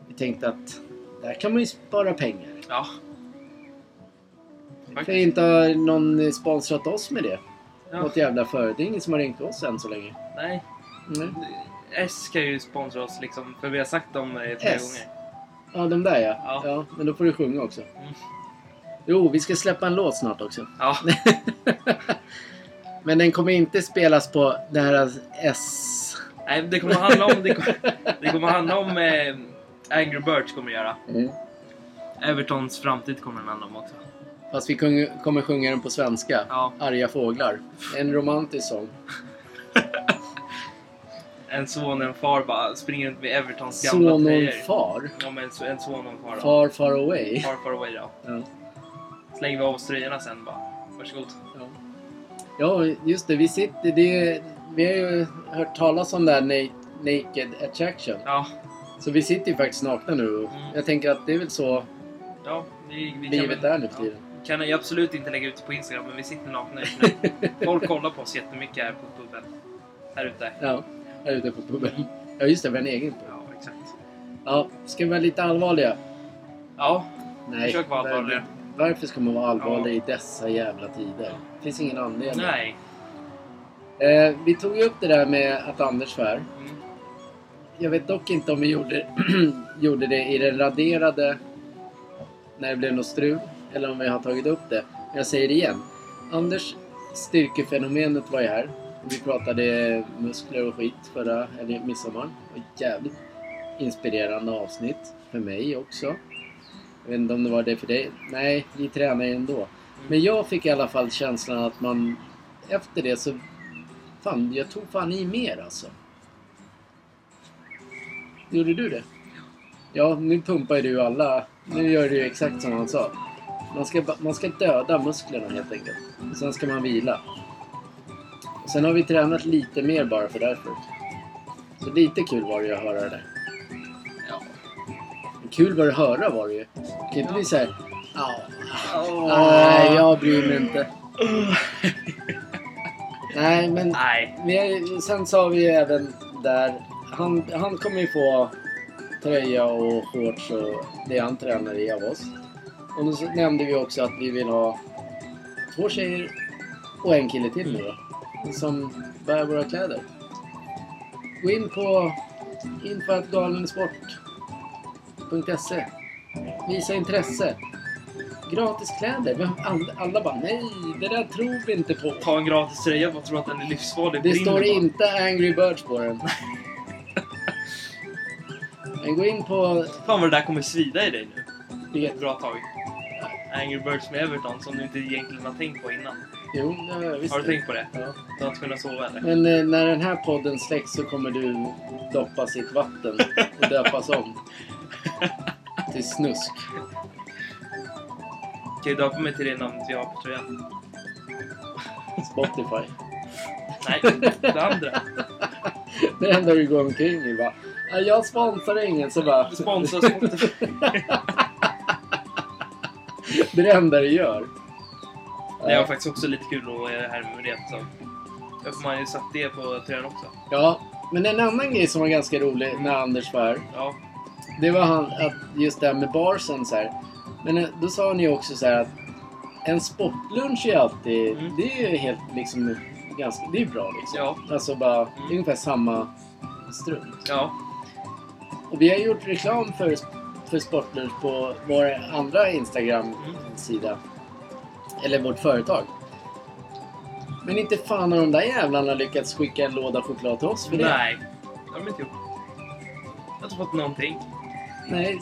Speaker 4: Vi tänkte att där kan man ju spara pengar.
Speaker 3: Ja.
Speaker 4: För inte har någon sponsrat oss med det.
Speaker 3: ja.
Speaker 4: Något jävla företag. Det är ingen som har ringt oss än så länge.
Speaker 3: Nej.
Speaker 4: Mm.
Speaker 3: S kan ju sponsra oss liksom, för vi har sagt dem eh, flera
Speaker 4: S.
Speaker 3: gånger.
Speaker 4: Ja, de där ja. ja.
Speaker 3: Ja.
Speaker 4: Men då får du sjunga också.
Speaker 3: Mm.
Speaker 4: Jo, vi ska släppa en låt snart också.
Speaker 3: Ja.
Speaker 4: Men den kommer inte spelas på det här S...
Speaker 3: Nej, det kommer handla om... Det kommer, det kommer handla om... Eh, Angry Birds kommer det göra.
Speaker 4: Mm.
Speaker 3: Evertons framtid kommer den handla om också.
Speaker 4: Fast vi kung- kommer sjunga den på svenska.
Speaker 3: Ja.
Speaker 4: Arga fåglar. En romantisk sång.
Speaker 3: En son och en far bara springer runt med Evertons gamla
Speaker 4: Son och
Speaker 3: tröjor.
Speaker 4: far.
Speaker 3: Ja, men so- en son och en far. Far,
Speaker 4: Far, far away.
Speaker 3: far, far away då.
Speaker 4: Ja.
Speaker 3: Slänger vi av oss tröjorna sen bara. Varsågod.
Speaker 4: Ja. Ja, just det. Vi sitter... Det, vi har ju hört talas om det här na- Naked Attraction.
Speaker 3: Ja,
Speaker 4: Så vi sitter ju faktiskt nakna nu. och
Speaker 3: Mm.
Speaker 4: Jag tänker att det är väl så
Speaker 3: ja. Vi, vi
Speaker 4: livet
Speaker 3: kan,
Speaker 4: är nu för tiden.
Speaker 3: Kan jag absolut inte lägga ut det på Instagram, men vi sitter nakna
Speaker 4: [laughs]
Speaker 3: just nu. Folk kollar på oss jättemycket här på puben. Här ute.
Speaker 4: Ja, här ute på puben. Ja, just det. Vi har en egen pub.
Speaker 3: Ja, exakt.
Speaker 4: Ja, ska vi vara lite allvarliga?
Speaker 3: Ja,
Speaker 4: Nej.
Speaker 3: försök vara allvarlig.
Speaker 4: Varför ska man vara allvarlig
Speaker 3: Ja.
Speaker 4: i dessa jävla tider? Det finns ingen anledning.
Speaker 3: Nej.
Speaker 4: Eh, vi tog ju upp det där med att Anders svär.
Speaker 3: Mm.
Speaker 4: Jag vet dock inte om vi gjorde, [clears throat] gjorde det i den raderade när det blev något strul eller om vi har tagit upp det. Men jag säger det igen. Anders styrkefenomenet var ju här. Vi pratade muskler och skit förra eller midsommar. Det var jävligt inspirerande avsnitt för mig också. Jag vet inte om det var det för dig. Nej, vi tränar ju ändå. Men jag fick i alla fall känslan att man efter det så... Fan, jag tog fan i mer alltså. Gjorde du det? Ja, nu pumpar ju du alla. Nu gör du ju exakt som han sa. Man ska, ba- man ska döda musklerna helt enkelt. Och sen ska man vila. Och sen har vi tränat lite mer bara för därför. Så lite kul var det ju att höra det där.
Speaker 3: Ja.
Speaker 4: Kul var det att höra var det ju. Kan inte vi säga ja, Nej,
Speaker 3: Åh.
Speaker 4: jag bryr mig inte. Nej, men
Speaker 3: Nej.
Speaker 4: vi, sen sa vi ju även där... Han, han kommer ju få tröja och shorts och det han tränar i av oss. Och då så nämnde vi också att vi vill ha två tjejer och en kille till nu då. Som bär våra kläder. Gå in på infoatgalensport.se Visa intresse. Gratis kläder. Men alla, alla bara nej, det där tror vi inte på.
Speaker 3: Ta en gratis tröja och tro att den är livsfarlig.
Speaker 4: Det
Speaker 3: Brinner
Speaker 4: står
Speaker 3: bara.
Speaker 4: inte Angry Birds på den. Men gå in på...
Speaker 3: Fan vad det där kommer svida i dig nu. Det är ett bra tag. Angry Birds med Everton som du inte egentligen har tänkt på innan.
Speaker 4: Jo, ja, visst.
Speaker 3: Har du tänkt på det?
Speaker 4: Ja.
Speaker 3: Du har inte kunnat sova eller?
Speaker 4: Men eh, när den här podden släcks så kommer du doppas i ett vatten och döpas
Speaker 3: [laughs]
Speaker 4: om. Till snusk.
Speaker 3: Kan du döpa mig till det namnet vi har på tröjan?
Speaker 4: Spotify.
Speaker 3: [laughs] Nej, det andra.
Speaker 4: Det enda du går omkring i bara... "Ja, Jag sponsrar ingen så bara...
Speaker 3: Sponsra [laughs] Spotify.
Speaker 4: [laughs] Det är det enda du gör.
Speaker 3: Det var faktiskt också lite kul att eh, här med det. Så. Då får man ju satt det på tröjan också.
Speaker 4: Ja, men en annan grej som var ganska rolig när Anders var här.
Speaker 3: Ja.
Speaker 4: Det var han, att just det här med barsen så här. Men eh, då sa han ju också så här att en sportlunch är alltid,
Speaker 3: Mm.
Speaker 4: det är ju helt liksom ganska, det är bra liksom.
Speaker 3: Ja. Mm.
Speaker 4: Alltså bara, det är ungefär samma strunt.
Speaker 3: Ja.
Speaker 4: Och vi har gjort reklam för, för Sportlunch på vår andra
Speaker 3: Mm.
Speaker 4: Instagram-sida. Eller vårt företag. Men inte fan har de där jävlarna lyckats skicka en låda choklad till oss för det.
Speaker 3: Nej. Det har de inte gjort. Jag har inte fått någonting.
Speaker 4: Nej.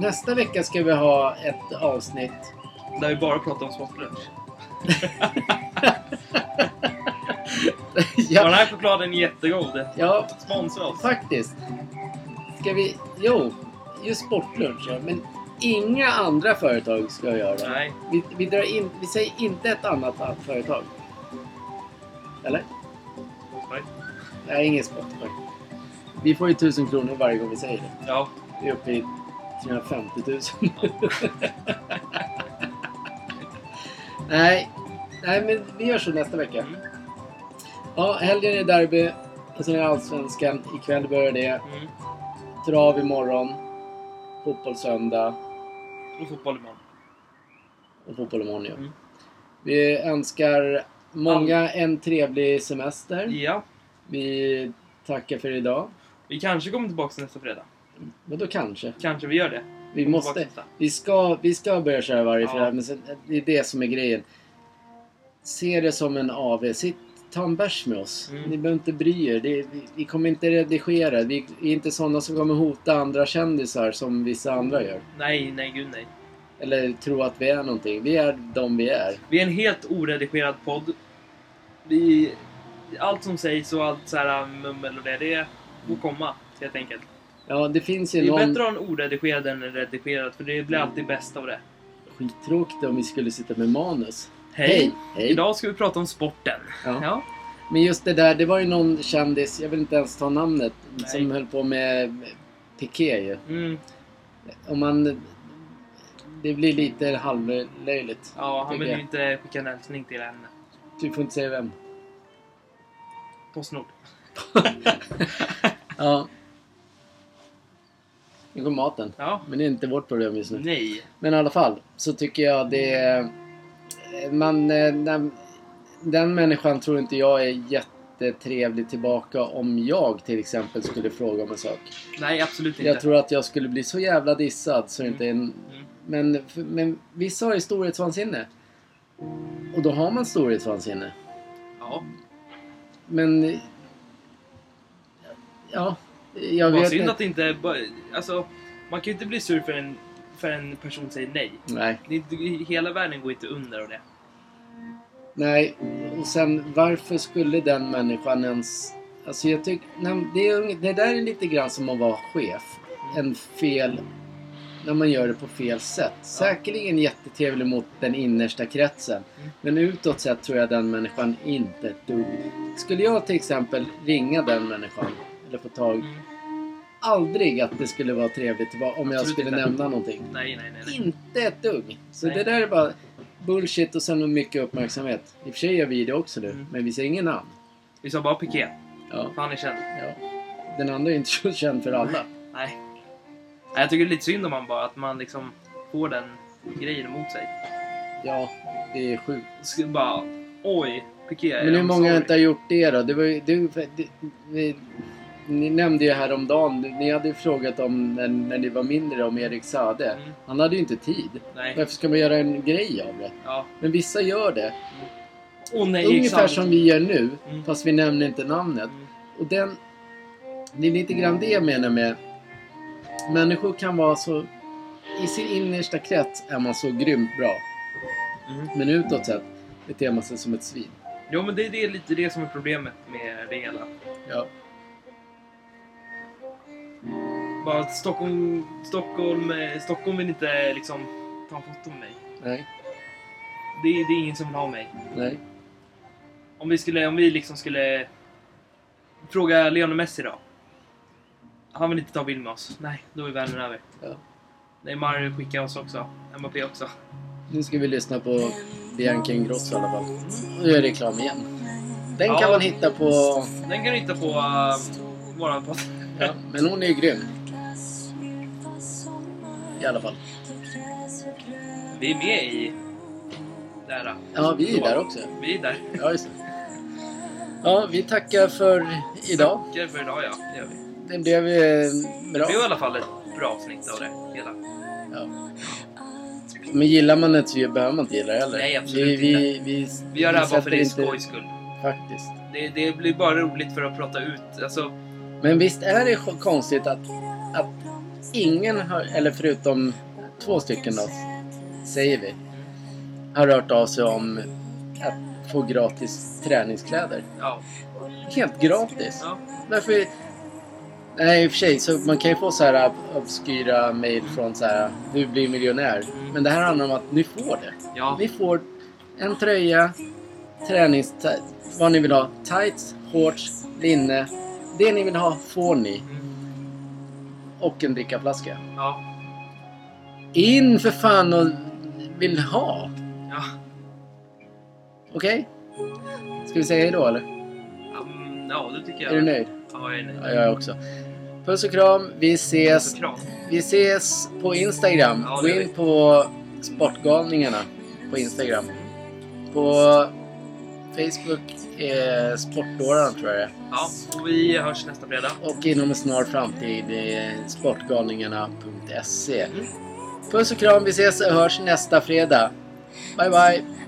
Speaker 4: Nästa vecka ska vi ha ett avsnitt.
Speaker 3: Där vi bara pratar om sportlunch. Ja. Den
Speaker 4: [laughs] ja,
Speaker 3: här chokladen är jättegod.
Speaker 4: ja,
Speaker 3: Sponsra oss.
Speaker 4: faktiskt. Ska vi... Jo, just sportlunch. Ja. Men inga andra företag ska göra det.
Speaker 3: Nej.
Speaker 4: Vi, vi, drar in, vi säger inte ett annat företag. Eller?
Speaker 3: Nej.
Speaker 4: Nej, ingen Spotify. Vi får ju 1000 kronor varje gång vi säger det.
Speaker 3: Ja.
Speaker 4: Vi är uppe i 350 000. [laughs] Nej. Nej, men vi gör så nästa vecka.
Speaker 3: Mm.
Speaker 4: Ja, helgen är derby. Och sen är Allsvenskan. Ikväll börjar det.
Speaker 3: Mm.
Speaker 4: Trav imorgon. Fotboll söndag.
Speaker 3: Och fotboll imorgon.
Speaker 4: och fotboll imorgon ja.
Speaker 3: Mm.
Speaker 4: Vi önskar många en trevlig semester.
Speaker 3: Ja.
Speaker 4: Vi tackar för idag.
Speaker 3: Vi kanske kommer tillbaka nästa fredag.
Speaker 4: Men då kanske.
Speaker 3: Kanske vi gör det.
Speaker 4: Vi
Speaker 3: Kommer
Speaker 4: måste.
Speaker 3: tillbaka nästa.
Speaker 4: Vi ska, vi ska börja köra varje
Speaker 3: Ja.
Speaker 4: fredag, men sen, det är det som är grejen. Se det som en AV. Sitt, ta en bärs med oss.
Speaker 3: Mm.
Speaker 4: Ni behöver inte bry er. Det, vi, vi kommer inte redigera. Vi är inte sådana som kommer hota andra kändisar som vissa andra gör.
Speaker 3: Nej, nej, gud nej.
Speaker 4: Eller tro att vi är någonting. Vi är de vi är.
Speaker 3: Vi är en helt oredigerad podd. Vi... Allt som sägs och allt så här um, mummel och det, det får komma helt enkelt.
Speaker 4: Ja, det finns
Speaker 3: Det
Speaker 4: ju
Speaker 3: är
Speaker 4: någon... Mm.
Speaker 3: bättre att ha en oredigerad än en redigerad, för det blir alltid bäst av det.
Speaker 4: Skittråkigt om vi skulle sitta med manus.
Speaker 3: Hej!
Speaker 4: Hej!
Speaker 3: Idag ska vi prata om sporten.
Speaker 4: Ja.
Speaker 3: Ja.
Speaker 4: Men just det där, det var ju någon kändis, jag vill inte ens ta namnet,
Speaker 3: Nej.
Speaker 4: som höll på med Piqué ju.
Speaker 3: Mm.
Speaker 4: Om man... Det blir lite halvlöjligt.
Speaker 3: Ja, han
Speaker 4: tycker
Speaker 3: vill
Speaker 4: jag.
Speaker 3: ju inte skicka en hälsning till henne.
Speaker 4: Du får inte säga vem.
Speaker 3: Postnord.
Speaker 4: Ja. Nu kom maten.
Speaker 3: Ja.
Speaker 4: Men det är inte vårt problem just nu.
Speaker 3: Nej.
Speaker 4: Men i alla fall, så tycker jag det... är- Man... eh, Den, den människan tror inte jag är jättetrevlig tillbaka om jag till exempel skulle fråga om en sak.
Speaker 3: Nej, absolut inte.
Speaker 4: Jag tror att jag skulle bli så jävla dissad så det inte är en...
Speaker 3: Mm.
Speaker 4: Men, men vissa har ju storhetsvansinne. Och då har man storhetsvansinne.
Speaker 3: Ja.
Speaker 4: Men... Ja, jag
Speaker 3: Vad
Speaker 4: vet
Speaker 3: synd
Speaker 4: inte.
Speaker 3: att det inte... bara- Alltså, man kan ju inte bli sur för en, för en person säger nej.
Speaker 4: Nej,
Speaker 3: Det, är inte- hela världen går inte under av det.
Speaker 4: nej. Och sen varför skulle den människan ens... Alltså jag tycker... Nej, det, är, ung- det där är lite grann som att vara chef. En fel... När man gör det på fel sätt. Säkerligen jättetrevlig mot den innersta kretsen.
Speaker 3: Mm.
Speaker 4: Men utåt sett tror jag den människan inte ett dugg. Skulle jag till exempel ringa den människan, eller få tag,
Speaker 3: Mm.
Speaker 4: aldrig att det skulle vara trevligt tillbaka om jag
Speaker 3: Absolut
Speaker 4: skulle
Speaker 3: inte.
Speaker 4: nämna någonting.
Speaker 3: Nej, nej, nej. nej.
Speaker 4: Inte ett dugg. Så
Speaker 3: Nej.
Speaker 4: det där är bara bullshit och sen mycket uppmärksamhet. I och för sig gör vi det också nu,
Speaker 3: Mm.
Speaker 4: men vi säger ingen namn.
Speaker 3: Vi sa bara Piqué.
Speaker 4: Ja,
Speaker 3: För han är känd.
Speaker 4: ja. Den andra är inte [laughs] så känd för alla.
Speaker 3: Nej. Nej, jag tycker det är lite synd om man bara att man liksom får den grejen emot sig.
Speaker 4: Ja, det är sjukt.
Speaker 3: Så bara, oj, Piqué.
Speaker 4: Men hur
Speaker 3: I'm
Speaker 4: många har
Speaker 3: sorry.
Speaker 4: inte har gjort det då? Det var ju, du, det, ni, ni nämnde ju häromdagen, ni hade ju frågat om när, när ni var mindre om Erik Sade.
Speaker 3: Mm.
Speaker 4: Han hade ju inte tid.
Speaker 3: Nej.
Speaker 4: Varför ska man göra en grej av det?
Speaker 3: Ja.
Speaker 4: Men vissa gör det.
Speaker 3: Åh nej,
Speaker 4: Ungefär
Speaker 3: exakt.
Speaker 4: som vi gör nu,
Speaker 3: Mm.
Speaker 4: fast vi nämner inte namnet.
Speaker 3: Mm.
Speaker 4: Och den... Det är lite grann det jag menar med... Människor kan vara så... I sin innersta krets är man så grymt bra.
Speaker 3: Mm.
Speaker 4: Men utåt sett beter man sig som ett svin.
Speaker 3: Jo, men det, det är lite det som är problemet med det hela.
Speaker 4: Ja.
Speaker 3: Bara att Stockholm, Stockholm, eh, Stockholm vill inte liksom ta en foto med mig.
Speaker 4: Nej.
Speaker 3: Det, är- det är ingen som vill ha mig.
Speaker 4: Nej.
Speaker 3: Om vi, skulle, om vi liksom skulle fråga Lionel Messi då. Han vill inte ta bild med oss. Nej, då är världen över.
Speaker 4: Ja.
Speaker 3: Neymar skickar oss också. Mbappé också.
Speaker 4: Nu ska vi lyssna på Bianca Ingrosso i alla fall. Nu gör jag reklam igen. Den
Speaker 3: Ja.
Speaker 4: kan man hitta på...
Speaker 3: Den kan du hitta på uh, våran podd.
Speaker 4: Ja, men hon är ju grym i alla fall.
Speaker 3: Vi är med i... Där.
Speaker 4: Ja, vi är ju där också.
Speaker 3: Vi är där.
Speaker 4: Ja, just det. Ja, vi tackar för idag.
Speaker 3: Tackar för idag ja, det gör vi. Det
Speaker 4: Det blev eh, bra.
Speaker 3: blev i alla fall ett bra avsnitt av det hela.
Speaker 4: Ja. Men gillar man det så behöver man inte gilla det heller.
Speaker 3: Nej, absolut
Speaker 4: vi, vi, vi,
Speaker 3: Vi gör det här bara
Speaker 4: sätter
Speaker 3: för din
Speaker 4: inte-
Speaker 3: skojs skull.
Speaker 4: Faktiskt.
Speaker 3: Det, det blir bara roligt för att prata ut. Alltså,
Speaker 4: Men visst är det sj- konstigt att, att ingen, har, eller förutom två stycken då, säger vi, har hört av sig om att få gratis träningskläder.
Speaker 3: ja.
Speaker 4: Helt gratis.
Speaker 3: ja.
Speaker 4: Därför... Nej, i och för sig. Så man kan ju få så här ob- obskyra mail från så här du blir miljonär.
Speaker 3: Mm.
Speaker 4: Men det här handlar om att ni får det.
Speaker 3: Ja.
Speaker 4: Ni får en tröja, tränings... Vad ni vill ha. Tights, shorts, linne. Det ni vill ha får ni.
Speaker 3: Mm.
Speaker 4: Och en drickaflaska.
Speaker 3: Ja.
Speaker 4: In för fan och vill ha!
Speaker 3: Ja.
Speaker 4: Okej? Ska vi säga hejdå eller?
Speaker 3: Mm, ja, det tycker jag.
Speaker 4: Är du nöjd?
Speaker 3: Ja, jag är nöjd.
Speaker 4: Ja, jag är också. Puss och kram. Vi ses
Speaker 3: Så kram.
Speaker 4: Vi ses på Instagram.
Speaker 3: Ja, det
Speaker 4: Gå
Speaker 3: gör vi.
Speaker 4: in på Sportgalningarna på Instagram. På Facebook är Sportdårarna tror jag det är.
Speaker 3: Ja, och vi hörs nästa fredag.
Speaker 4: Och inom en snar framtid är E. Sportgalningarna.se. Puss och kram, vi ses och hörs nästa fredag. Bye bye!